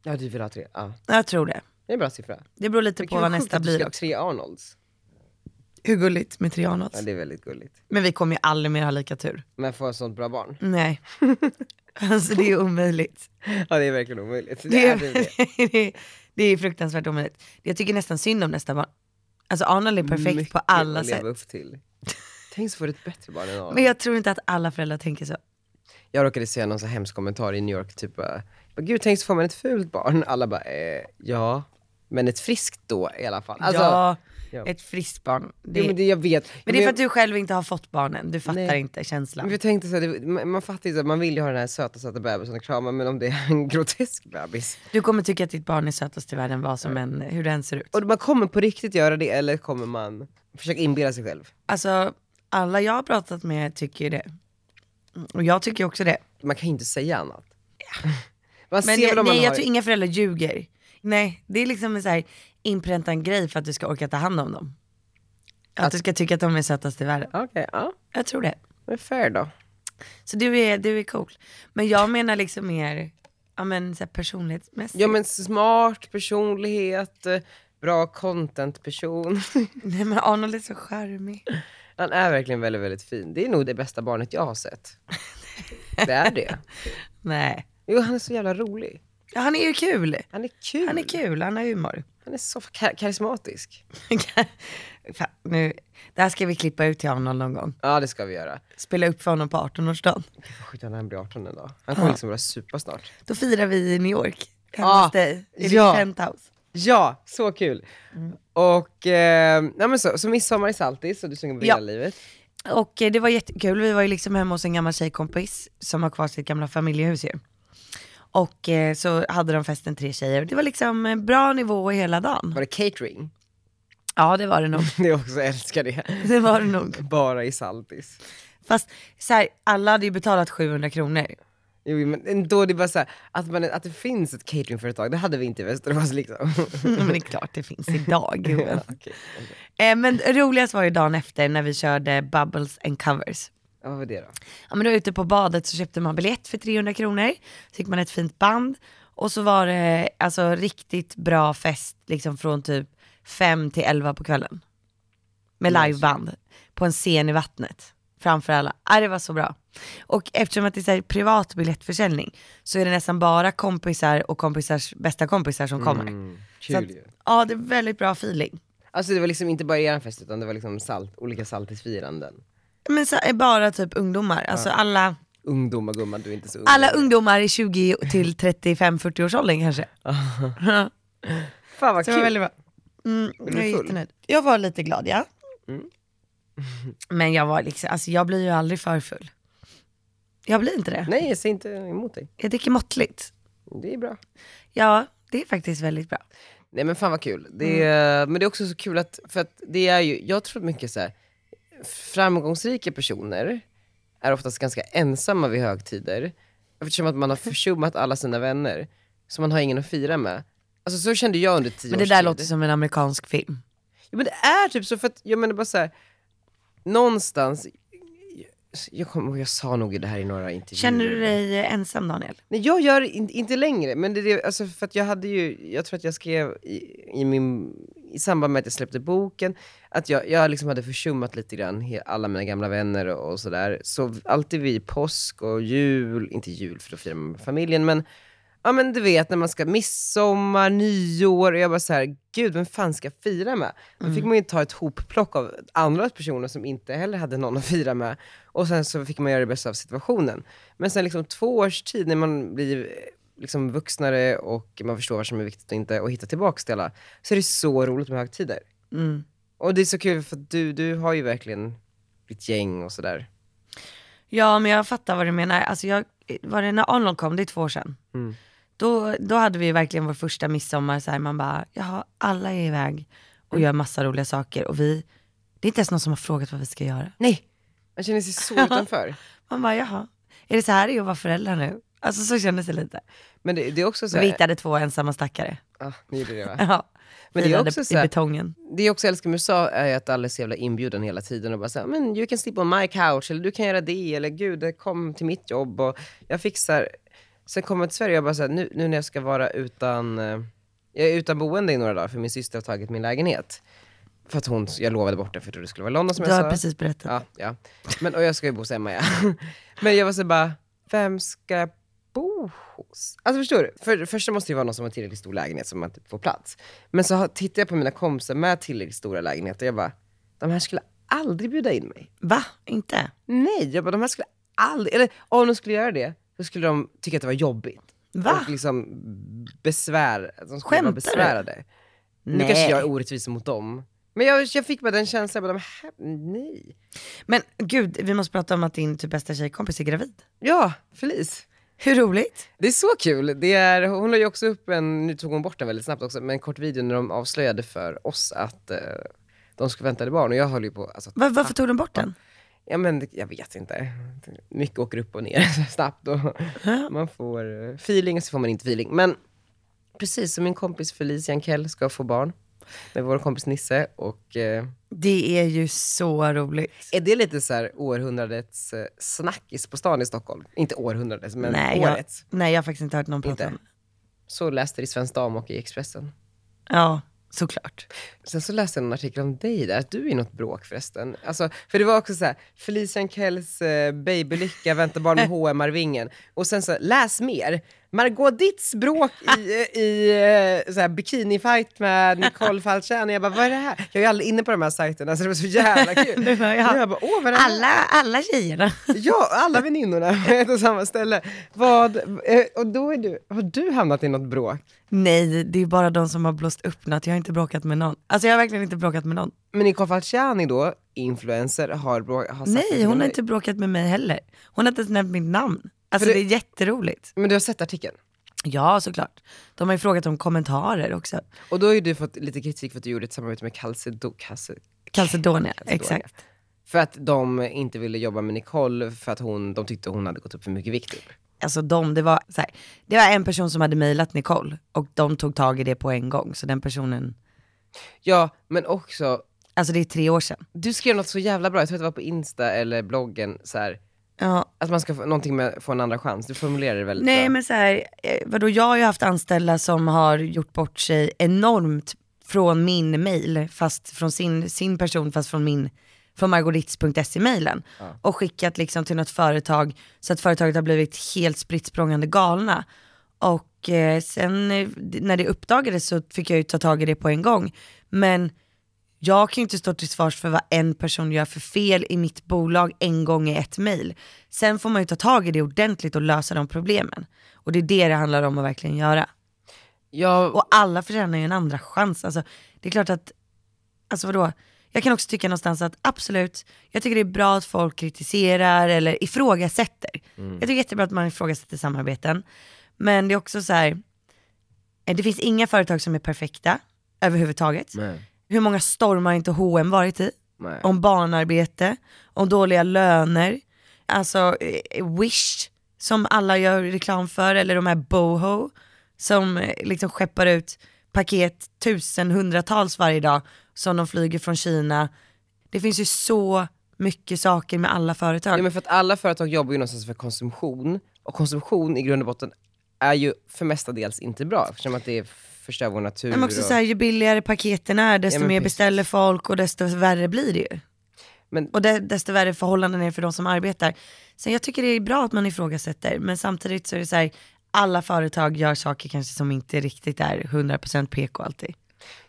Ja, du vill ha tre. Ja. Jag tror det. Det är en bra siffra. Det beror lite på vad sjukt nästa att du blir ska ha också. Tre Arnolds. Hur gulligt med tre Arnolds. Ja, det är väldigt gulligt. Men vi kommer ju aldrig mer ha lika tur. Men få ett sånt bra barn. Nej. alltså det är omöjligt. Ja, det är verkligen omöjligt. Det, Det är typ det. är, det, är, det är fruktansvärt omöjligt. Jag tycker nästan synd om nästa barn. Alltså Arnold är perfekt Mycket på alla att leva sätt. upp till. Tänk så får du ett bättre barn än Arnold. Men jag... jag tror inte att alla föräldrar tänker så. råkade se någon så här hemsk kommentar i New York, typ bara, "Men gud tänk så får man ett fult barn. Alla bara, eh, ja. Men ett friskt då i alla fall. Alltså, ja, ja. ett friskt barn. Det, Jo, men det jag vet. Men det är för jag- att du själv inte har fått barnen, du fattar Nej. inte känslan. Men jag tänkte så här, det, man, man fattar ju så här, man vill ju ha den här söta söta bebisen att krama men om det är en grotesk bebis. Du kommer tycka att ditt barn är sötast i världen vad som än, hur den ser ut. Och man kommer på riktigt göra det eller kommer man försöka inbilla sig själv? Alltså, alla jag har pratat med tycker ju det. Mm, Och jag tycker också det. Man kan ju inte säga annat. Man Men ser väl jag, om man nej, jag har... tror inga föräldrar ljuger. Nej, det är liksom en så här inpräntad grej för att du ska orka ta hand om dem. Att, du ska tycka att de är sötast i världen. Okej, ja. Jag tror det. Men fair då. Så du är, du är cool. Men jag menar liksom mer, ja men så här personlighetsmässigt. Ja men smart personlighet, eh, bra content-person. Nej men Arnold är så charmig. Han är verkligen väldigt, väldigt fin. Det är nog det bästa barnet jag har sett. Det är det. Nej. Jo, han är så jävla rolig. Ja, han är ju kul. Han är kul. Han är kul, han har humor. Han är så ka- karismatisk. Fan, nu, det här ska vi klippa ut till Arnold någon gång. Ja, det ska vi göra. Spela upp för honom på 18-årsdagen. Skit när han blir 18 en dag. Han kommer liksom börja supa snart. Då firar vi i New York, hemma Ah, hos dig, i ja. ditt penthouse. Ja, så kul! Mm. Och, eh, nej men så, så midsommar i Saltis och du sjunger på Ja. hela livet. Och eh, det var jättekul, vi var ju liksom hemma hos en gammal tjejkompis som har kvar sitt gamla familjehus ju. Och eh, så hade de festen tre tjejer. Det var liksom eh, bra nivå hela dagen. Var det catering? Ja det var det nog. Det jag också älskar det. Det var det nog. Bara i Saltis. Fast så här, alla hade ju betalat 700 kronor. Jo, men ändå, det är bara så här, att, man, att det finns ett cateringföretag, det hade vi inte i Västerås liksom. Mm, Men det är klart det finns idag. gubben. Okej, okej. Eh, men roligast var ju dagen efter när vi körde bubbles and covers. Ja, Vad var det då? Ja, men då ute på badet så köpte man biljett för 300 kronor, så fick man ett fint band och så var det alltså riktigt bra fest liksom från typ 5 till 11 på kvällen. Med liveband på en scen i vattnet framför alla. Äh, det var så bra. Och eftersom att det är så här privat biljettförsäljning så är det nästan bara kompisar och kompisars bästa kompisar som kommer. Mm. så att, Kul ju. ja, det är väldigt bra feeling. Alltså det var liksom inte bara er fest utan det var liksom salt, olika Saltisfiranden. Men så, bara typ ungdomar, alltså alla, Ungdomar gumman, du är inte så ung. alla ungdomar i 20 till 35-40 års åldern kanske. Fan vad Så det kul. var väldigt bra. Mm, du jag, är full? Mm. jättenöjd. jag var lite glad ja. Men jag var liksom, alltså jag blir ju aldrig för full. Jag blir inte det. Nej, jag säger inte emot dig. Jag dricker måttligt. Det är bra. Ja, det är faktiskt väldigt bra. Nej men fan vad kul. Mm. Det, Men det är också så kul att, för att det är ju, jag tror mycket så här. framgångsrika personer är oftast ganska ensamma vid högtider. Eftersom att man har försummat alla sina vänner. Så man har ingen att fira med. Alltså så kände jag under tio Men det års där tid. låter som en amerikansk film. Jo men det är typ så, för att jag menar bara så här. någonstans, jag, kommer ihåg, jag sa nog det här i några intervjuer. Känner du dig ensam Daniel? Nej, jag gör in, inte längre, men det, är det, alltså, för att jag hade ju, jag tror att jag skrev i, i, min, i samband med att jag släppte boken, att jag, jag liksom hade försummat lite grann he, alla mina gamla vänner och, och sådär. Så alltid vid påsk och jul, inte jul för då firar man med familjen, men Ja men du vet när man ska midsommar, nyår och jag bara så här, gud vem fan ska jag fira med? Då fick man ju ta ett hopplock av andra personer som inte heller hade någon att fira med. Och sen så fick man göra det bästa av situationen. Men sen liksom två års tid när man blir eh, liksom vuxnare och man förstår vad som är viktigt och inte och hittar tillbaka till alla, så är det så roligt med högtider. Mm. Och det är så kul för att du, du har ju verkligen ditt gäng och sådär. Ja men jag fattar vad du menar. Alltså jag, var det när Arnold kom, det är två år sedan. Mm. Då, då hade vi verkligen vår första midsommar så här, man bara, jaha alla är iväg Mm. och gör massa roliga saker och vi, det är inte ens någon som har frågat vad vi ska göra. Nej! Man känner sig så utanför. Man bara, jaha, är det så här det är att vara förälder nu? Alltså så kändes det lite. Men det, det är också så Men vi här, hittade två ensamma stackare. ah, ni gjorde det va? Ja. Men det är Filade också så i här- betongen. Det jag också älskar med USA är ju att alla är så jävla inbjuden hela tiden och bara såhär, men you can sleep on my couch, eller du kan göra det, eller gud, kom till mitt jobb och jag fixar. Sen kommer jag till Sverige och jag bara såhär, nu, nu när jag ska vara utan, eh, jag är utan boende i några dagar för min syster har tagit min lägenhet. För att hon, jag lovade bort den för jag trodde det skulle vara London som Du jag sa. har precis berättat. Ja, ja. Men, och jag ska ju bo hos Emma, ja. Men jag var så bara, vem ska jag bo hos? Alltså förstår du? För, först så måste det ju vara någon som har tillräckligt stor lägenhet så man typ får plats. Men så har- tittar jag på mina kompisar med tillräckligt stora lägenheter och jag bara, de här skulle aldrig bjuda in mig. Va? Inte? Nej, jag bara, de här skulle aldrig, eller om de skulle göra det, så skulle de tycka att det var jobbigt. Va? Och liksom besvär, att de skulle Skämtar vara du? besvärade. Nu Nej. kanske jag är orättvis mot dem. Men jag, jag fick bara den känslan, jag bara, de här, nej. Men gud, vi måste prata om att din typ bästa tjejkompis är gravid. Ja, Felice. Hur roligt? Det är så kul. Det är, hon la ju också upp en, nu tog hon bort den väldigt snabbt också, men en kort video när de avslöjade för oss att eh, de skulle vänta ett barn och jag höll ju på, alltså, Va- varför tog de bort den? ja men det- jag vet inte. Mycket åker upp och ner så snabbt och man får eh, feeling och så får man inte feeling. Men precis som min kompis Felicia Ankell ska få barn med vår kompis Nisse och eh, Det är ju så roligt. är det lite så här århundradets eh, snackis på stan i Stockholm? Inte århundradets, men nej, jag, årets. nej, jag har faktiskt inte hört någon prata Inte? om det. Så läste det i Svensk Dam och i Expressen. Ja, såklart. Sen så läste jag en artikel om dig där, att du är i något bråk förresten. Alltså, för det var också så här, Felicia Ankells eh, babylycka, vänta barn med hm arvingen Och sen så, här, läs mer. Margot Ditts bråk i, eh, i eh, så här, bikinifight med Nicole Falciani. Jag bara, vad är det här? Jag är ju aldrig inne på de här sajterna, så det var så jävla kul. Det var jag. jag bara, åh vad är det här? Alla, alla tjejerna. Ja, alla väninnorna på ett och samma ställe. Vad, eh, och då är du, har du hamnat i något bråk? Nej, det är bara de som har blåst upp något. Jag har inte bråkat med någon. Alltså jag har verkligen inte bråkat med någon. Men Nicole Falciani då, influencer, har, brå- har sagt något Nej, till hon har dig. inte bråkat med mig heller. Hon har inte ens nämnt mitt namn. Alltså För det... det- är jätteroligt. Men du har sett artikeln? Ja, såklart. De har ju frågat om kommentarer också. Och då har ju du fått lite kritik för att du gjorde ett samarbete med Calcedo, Calce, Calcedonia, exakt. för att de inte ville jobba med Nicole för att hon, de tyckte hon hade gått upp för mycket vikt. typ. Alltså de, det var så här, det var en person som hade mejlat Nicole och de tog tag i det på en gång. Så den personen, Ja, men också, alltså det är tre år sedan. du skrev något så jävla bra, jag tror att det var på Insta eller bloggen, så här, Ja, att man ska få, någonting med, få en andra chans. Du formulerade det väldigt Nej bra. men så här, eh, vadå jag har ju haft anställda som har gjort bort sig enormt från min mail, fast från sin, sin person, fast från min, från margolits.se mailen. Och skickat liksom till något företag så att företaget har blivit helt spritt språngande galna. Och eh, sen eh, d- när det uppdagades så fick jag ju ta tag i det på en gång. Men jag kan ju inte stå till svars för vad en person gör för fel i mitt bolag en gång i ett mejl. Sen får man ju ta tag i det ordentligt och lösa de problemen. Och det är det det handlar om att verkligen göra. Jag, Och alla förtjänar ju en andra chans. Alltså, det är klart att, alltså vadå? Jag kan också tycka någonstans att absolut, jag tycker det är bra att folk kritiserar eller ifrågasätter. Mm. Jag tycker jättebra att man ifrågasätter samarbeten. Men det är också så här, eh, det finns inga företag som är perfekta överhuvudtaget. nej, Hur många stormar har inte H&M varit i? nej. om barnarbete, om dåliga löner, alltså eh, Wish som alla gör reklam för, eller de här boho som eh, liksom skeppar ut paket tusen, hundratals varje dag som de flyger från Kina. Det finns ju så mycket saker med alla företag. Ja, men för att alla företag jobbar ju någonstans för konsumtion, och konsumtion i grund och botten är ju för mestadels inte bra, eftersom att det förstör vår natur. Nej, men också och, så här, ju billigare paketen är desto Ja, men mer precis. beställer folk och desto värre blir det ju. Men- Och de, desto värre förhållanden är det för de som arbetar. Sen jag tycker det är bra att man ifrågasätter men samtidigt så är det så här, alla företag gör saker kanske som inte riktigt är 100% PK alltid.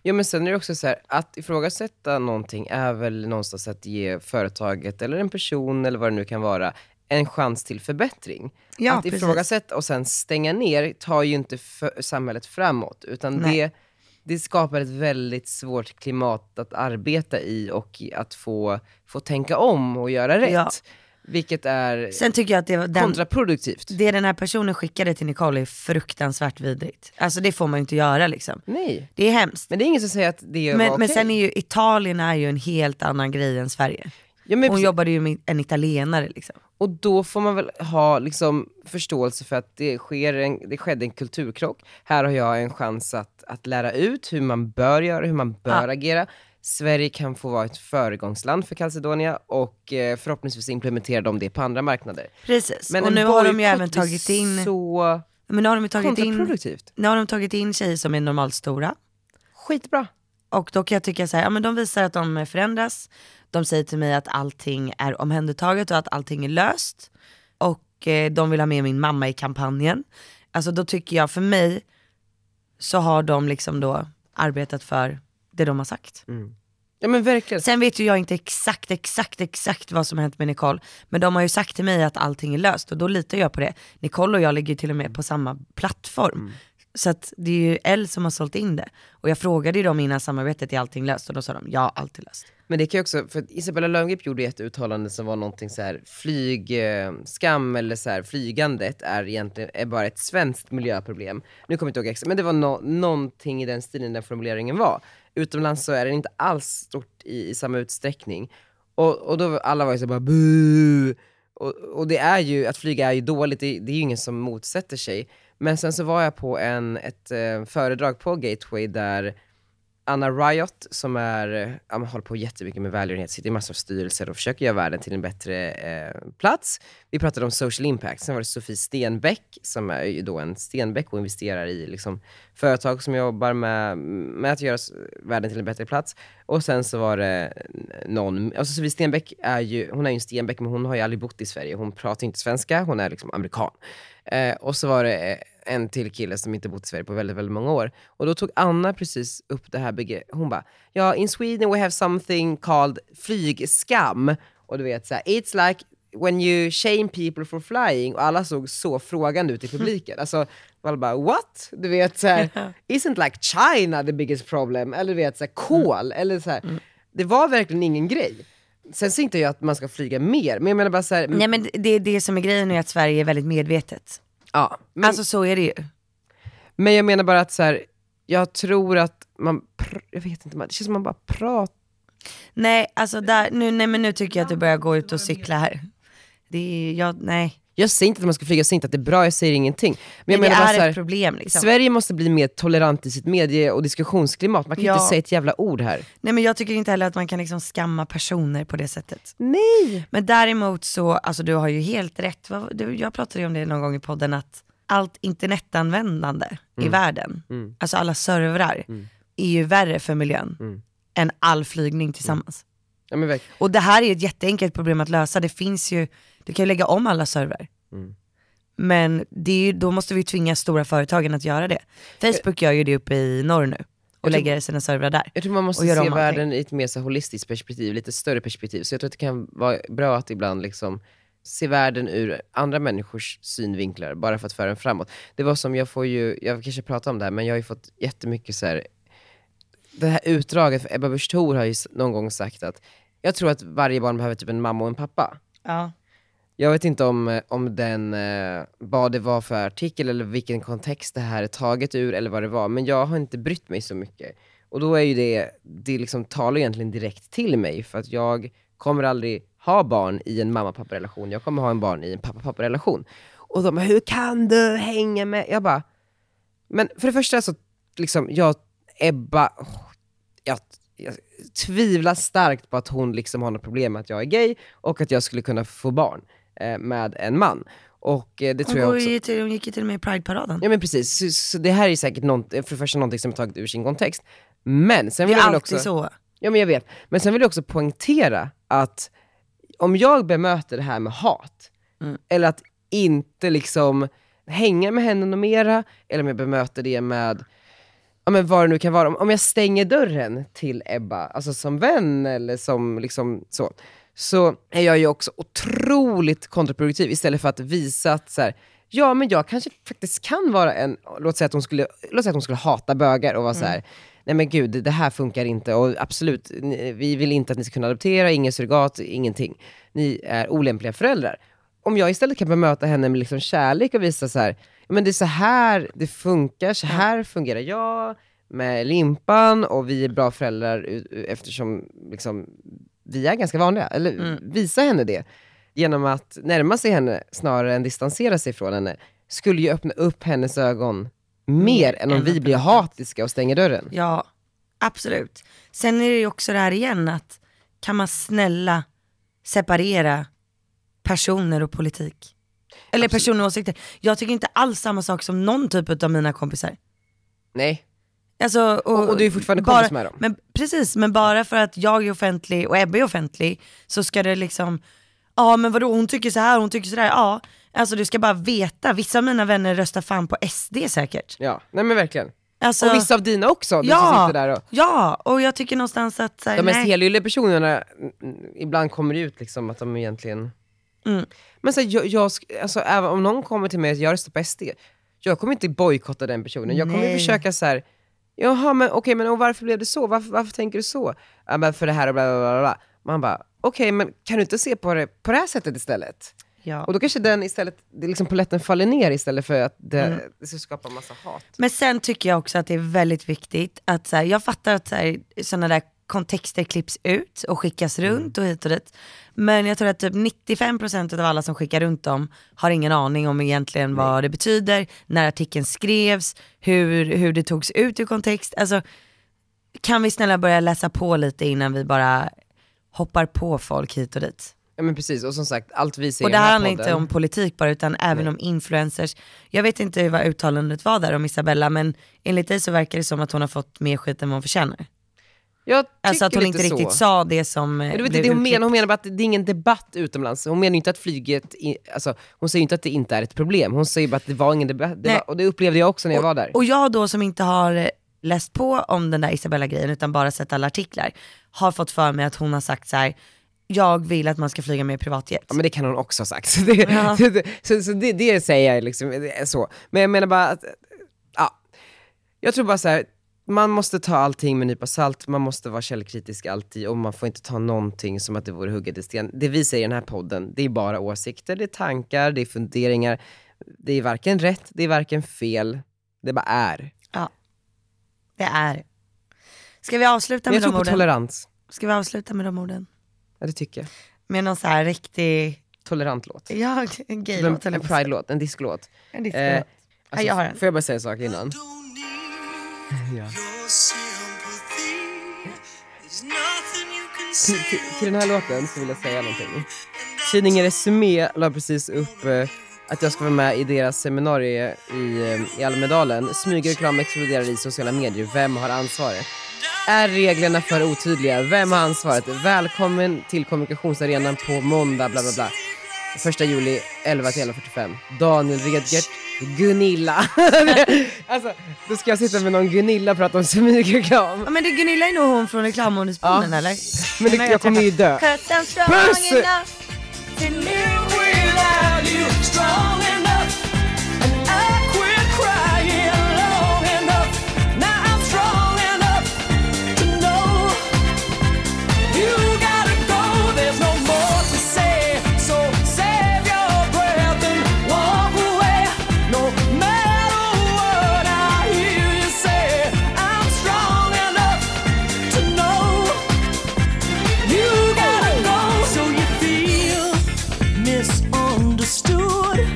Ja men sen är det också så här, att ifrågasätta någonting är väl någonstans att ge företaget eller en person eller vad det nu kan vara en chans till förbättring. Ja, att precis. ifrågasätta och sen stänga ner tar ju inte för samhället framåt, utan Nej. det, det skapar ett väldigt svårt klimat att arbeta i och i att få, få tänka om och göra rätt. Ja. Vilket är Sen tycker jag att det, var den, kontraproduktivt. det den här personen skickade till Nicole är fruktansvärt vidrigt. Alltså det får man ju inte göra liksom. Nej, Det är hemskt. men det är ingen som säger att det var Men, okej. men sen är ju Italien är ju en helt annan grej än Sverige. ja, Hon men precis. jobbade ju med en italienare liksom. Och då får man väl ha liksom, förståelse för att det, sker en, det skedde en kulturkrock. Här har jag en chans att, att lära ut hur man bör göra, hur man bör agera. Sverige kan få vara ett föregångsland för Calcedonia och eh, förhoppningsvis implementera de det på andra marknader. Precis, Men och en nu har de ju bojkott även är tagit in, så men nu har de ju tagit in, kontraproduktivt. nu har de tagit in tjejer som är normalt stora. Skitbra. Och då kan jag tycka så här, ja men de visar att de förändras, de säger till mig att allting är omhändertaget och att allting är löst. Och eh, de vill ha med min mamma i kampanjen. Alltså då tycker jag, för mig, så har de liksom då arbetat för det de har sagt. Ja men verkligen. Sen vet ju jag inte exakt, exakt, exakt vad som har hänt med Nicole. Men de har ju sagt till mig att allting är löst och då litar jag på det. Nicole och jag ligger ju till och med på samma plattform. Mm. Så att det är ju Elle som har sålt in det. Och jag frågade ju dem innan samarbetet, är allting löst? Och då sa de, ja allt är löst. Men det kan ju också, för att Isabella Löwengrip gjorde ju ett uttalande som var någonting så här flygskam eller så här flygandet är egentligen är bara ett svenskt miljöproblem. Nu kommer jag inte ihåg exakt, men det var no, någonting i den stilen den formuleringen var. Utomlands så är det inte alls stort i, i samma utsträckning. Och, och då var- alla var ju så bara bu. Och, och det är ju, att flyga är ju dåligt, det, det är ju ingen som motsätter sig. Men sen så var jag på en, ett eh, föredrag på Gateway där Anna Riot som är, eh, ja, men håller på jättemycket med välgörenhet, sitter i massor av styrelser och försöker göra världen till en bättre eh, plats. Vi pratade om social impact, sen var det Sofie Stenbeck som är ju då en Stenbeck och investerar i liksom, företag som jobbar med, med att göra s- världen till en bättre plats. Och sen så var det någon, alltså Sofie Stenbeck är ju, hon är ju en Stenbeck men hon har ju aldrig bott i Sverige, hon pratar inte svenska, hon är liksom amerikan. Eh, och så var det eh, en till kille som inte bott i Sverige på väldigt, väldigt många år. Och då tog Anna precis upp det här begreppet. Hon bara, ja, in Sweden we have something called flygskam. Och du vet så här, it's like when you shame people for flying. Och alla såg så frågande ut i publiken. Alltså, alla bara, what? Du vet så här, isn't like China the biggest problem? Eller du vet så här, kol. Eller så här. Det var verkligen ingen grej. Sen säger inte jag att man ska flyga mer, men jag menar bara så här, Nej men det är det som är grejen är att Sverige är väldigt medvetet. ja. Men- Alltså så är det ju. Men jag menar bara att så här, jag tror att man, pr- jag vet inte, man- det känns som man bara pratar. Nej, alltså där, nu, nej men nu tycker jag att du börjar gå ut och cykla här. Det är, jag, nej. Jag säger inte att man ska flyga, jag säger inte att det är bra, jag säger ingenting. Men jag Men det menar bara är så ett här, problem liksom. Sverige måste bli mer tolerant i sitt medie och diskussionsklimat. Man kan Ja. inte säga ett jävla ord här. Nej men jag tycker inte heller att man kan liksom skamma personer på det sättet. Nej! Men däremot så, alltså du har ju helt rätt. Vad- du- Jag pratade ju om det någon gång i podden att allt internetanvändande Mm. i världen, alltså alla servrar, är ju värre för miljön Mm. än all flygning tillsammans. Ja, men verkligen. Och det här är ett jätteenkelt problem att lösa. Det finns ju, du kan ju lägga om alla servrar. Mm. Men det är ju, då måste vi tvinga stora företagen att göra det. Facebook gör ju det uppe i norr nu och tror- lägger sina servrar där. Jag tror man måste Och se göra om allting. världen i ett mer så här holistiskt perspektiv, lite större perspektiv. Så jag tror att det kan vara bra att ibland liksom se världen ur andra människors synvinklar, bara för att föra den framåt. Det var som, jag får ju, jag kanske pratar om det här, men jag har ju fått jättemycket så här det här utdraget, för Ebba Busch Thor har ju s- någon gång sagt att jag tror att varje barn behöver typ en mamma och en pappa. Ja. Jag vet inte om, eh, om den, eh, vad det var för artikel eller vilken kontext det här är taget ur eller vad det var, men jag har inte brytt mig så mycket. Och då är ju det, det liksom talar egentligen direkt till mig för att jag kommer aldrig ha barn i en mamma-pappa-relation, jag kommer ha en barn i en pappa-pappa-relation. Och de bara, hur kan du hänga med? Jag bara, men för det första så, liksom, jag, Ebba, åh, jag, jag tvivlar starkt på att hon liksom har något problem med att jag är gay och att jag skulle kunna få barn eh, med en man. Och eh, det tror Hon, jag går också. ju till, hon gick ju till och med i Prideparaden. Ja men precis, så, så det här är säkert någon, för det första någonting som är taget ur sin kontext. Men sen Det vill är jag väl alltid också, så. Ja men jag vet, men sen vill jag också poängtera att om jag bemöter det här med hat, Mm. eller att inte liksom hänga med henne något mera, eller om jag bemöter det med Ja men vad det nu kan vara, om- om jag stänger dörren till Ebba, alltså som vän eller som liksom så, så är jag ju också otroligt kontraproduktiv istället för att visa att så här, ja men jag kanske faktiskt kan vara en, låt säga att hon skulle, låt säga att hon skulle hata bögar och vara så här, nej men gud det här funkar inte och absolut, ni, vi vill inte att ni ska kunna adoptera, ingen surrogat, ingenting. Ni är olämpliga föräldrar. Om jag istället kan bemöta henne med liksom kärlek och visa så här, ja, men det är så här det funkar, så här fungerar jag med limpan och vi är bra föräldrar u- u- eftersom liksom, vi är ganska vanliga. Eller visa henne det. Genom att närma sig henne snarare än distansera sig från henne skulle ju öppna upp hennes ögon mer än om än vi att blir hatiska och stänger dörren. Ja, absolut. Sen är det ju också det här igen att kan man snälla separera personer och politik? Eller personer och åsikter. Jag tycker inte alls samma sak som någon typ av mina kompisar. Nej. Alltså, Och- och du är fortfarande bara, kompis med dem. Men, precis, men bara för att jag är offentlig och Ebbe är offentlig så ska det liksom, ja men vadå hon tycker så här, hon tycker så där, ja. Alltså du ska bara veta, vissa av mina vänner röstar fan på SD säkert. Ja, nej men verkligen. Alltså, Och vissa av dina också, du som ja, sitter där och... ja, och jag tycker någonstans att så här, De mest nej. helylle personerna, mm, ibland kommer det ut liksom att de egentligen... Mm. Men så här, jag, jag, sk- alltså, även om någon kommer till mig och jag röstar på SD, jag kommer inte bojkotta den personen. Jag kommer Nej. försöka så här, jaha men okej, men och varför blev det så? Varför, varför tänker du så? Ja men för det här och bla bla bla. bla. Man bara, okej men kan du inte se på det på det här sättet istället? Ja. Och då kanske den istället, det liksom polletten faller ner istället för att det, Mm. det ska skapa massa hat. Men sen tycker jag också att det är väldigt viktigt att så här, jag fattar att sådana där kontexter klipps ut och skickas Mm. runt och hit och dit. Men jag tror att typ 95% av alla som skickar runt dem har ingen aning om egentligen vad det betyder, när artikeln skrevs, hur, hur det togs ut ur kontext. Alltså, kan vi snälla börja läsa på lite innan vi bara hoppar på folk hit och dit? Ja men precis, och som sagt, allt vi ser Och i det den här här handlar podden- inte om politik bara utan även om influencers. Jag vet inte vad uttalandet var där om Isabella men enligt dig så verkar det som att hon har fått mer skit än vad hon förtjänar. Jag Alltså att tycker hon lite inte så. riktigt sa det som eh, Men du vet, blev det är det hon, utklippt. menar, hon menar bara att det är ingen debatt utomlands. Hon menar ju inte att flyget, i, alltså, hon säger ju inte att det inte är ett problem. Hon säger bara att det var ingen debatt. Det Nej. var, och det upplevde jag också när jag var där. Och jag då som inte har eh, läst på om den där Isabella-grejen utan bara sett alla artiklar har fått för mig att hon har sagt så här: jag vill att man ska flyga med privatjet. Ja men det kan hon också ha sagt. Så det, så, det- så, så det, det säger jag liksom, det är så. Men jag menar bara att, ja. Jag tror bara så här, man måste ta allting med en nypa salt, man måste vara källkritisk alltid och man får inte ta någonting som att det vore hugget i sten. Det vi säger i den här podden, det är bara åsikter, det är tankar, det är funderingar. Det är varken rätt, det är varken fel. Det bara är. Ja, det är Ska vi avsluta Men med jag tror de på orden? tolerans. Ska vi avsluta med de orden? Ja, det tycker jag. Med någon så här riktig, Tolerant låt. ja, en En, gay-låt. eller en vad man säger. pride-låt, en discolåt. En disco. Eh, Ja, jag har en. Får jag bara säga en sak innan? Till, till, till den här låten så vill jag säga någonting. Tidningen Resumé la precis upp eh, att jag ska vara med i deras seminarium i, eh, i Almedalen. Smygreklam exploderar i sociala medier. Vem har ansvaret? Är reglerna för otydliga? Vem har ansvaret? Välkommen till kommunikationsarenan på måndag, bla bla bla. 1 juli 11 till 11.45. Daniel Redgert, Gunilla. alltså, då ska jag sitta med någon Gunilla och prata om smygreklam. Ja men det Gunilla är nog hon från reklamordningsplanen Ja. eller? Men det, jag kommer ju dö. Puss!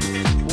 oh, Misunderstood,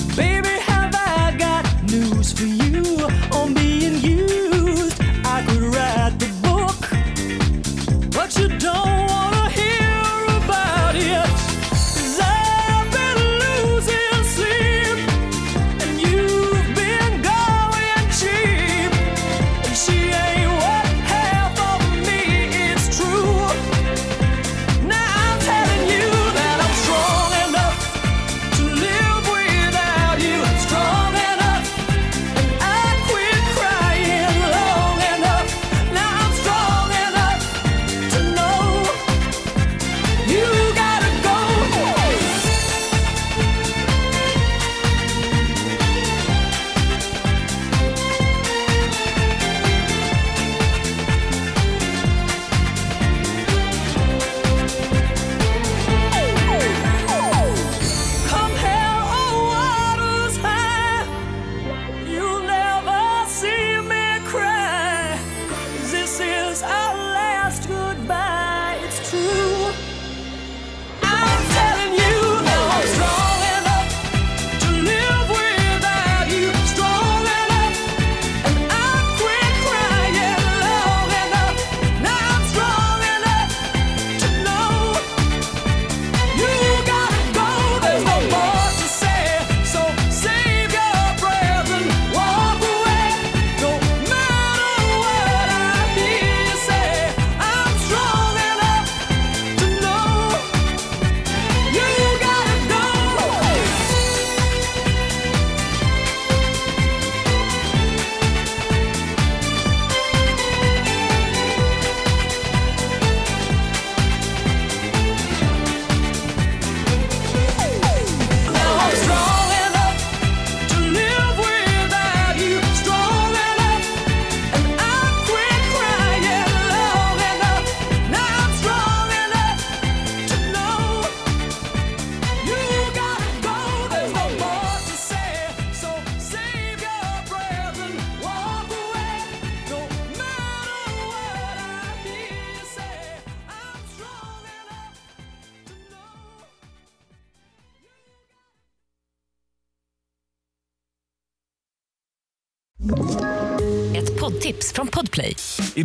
Ett poddtips från Podplay. I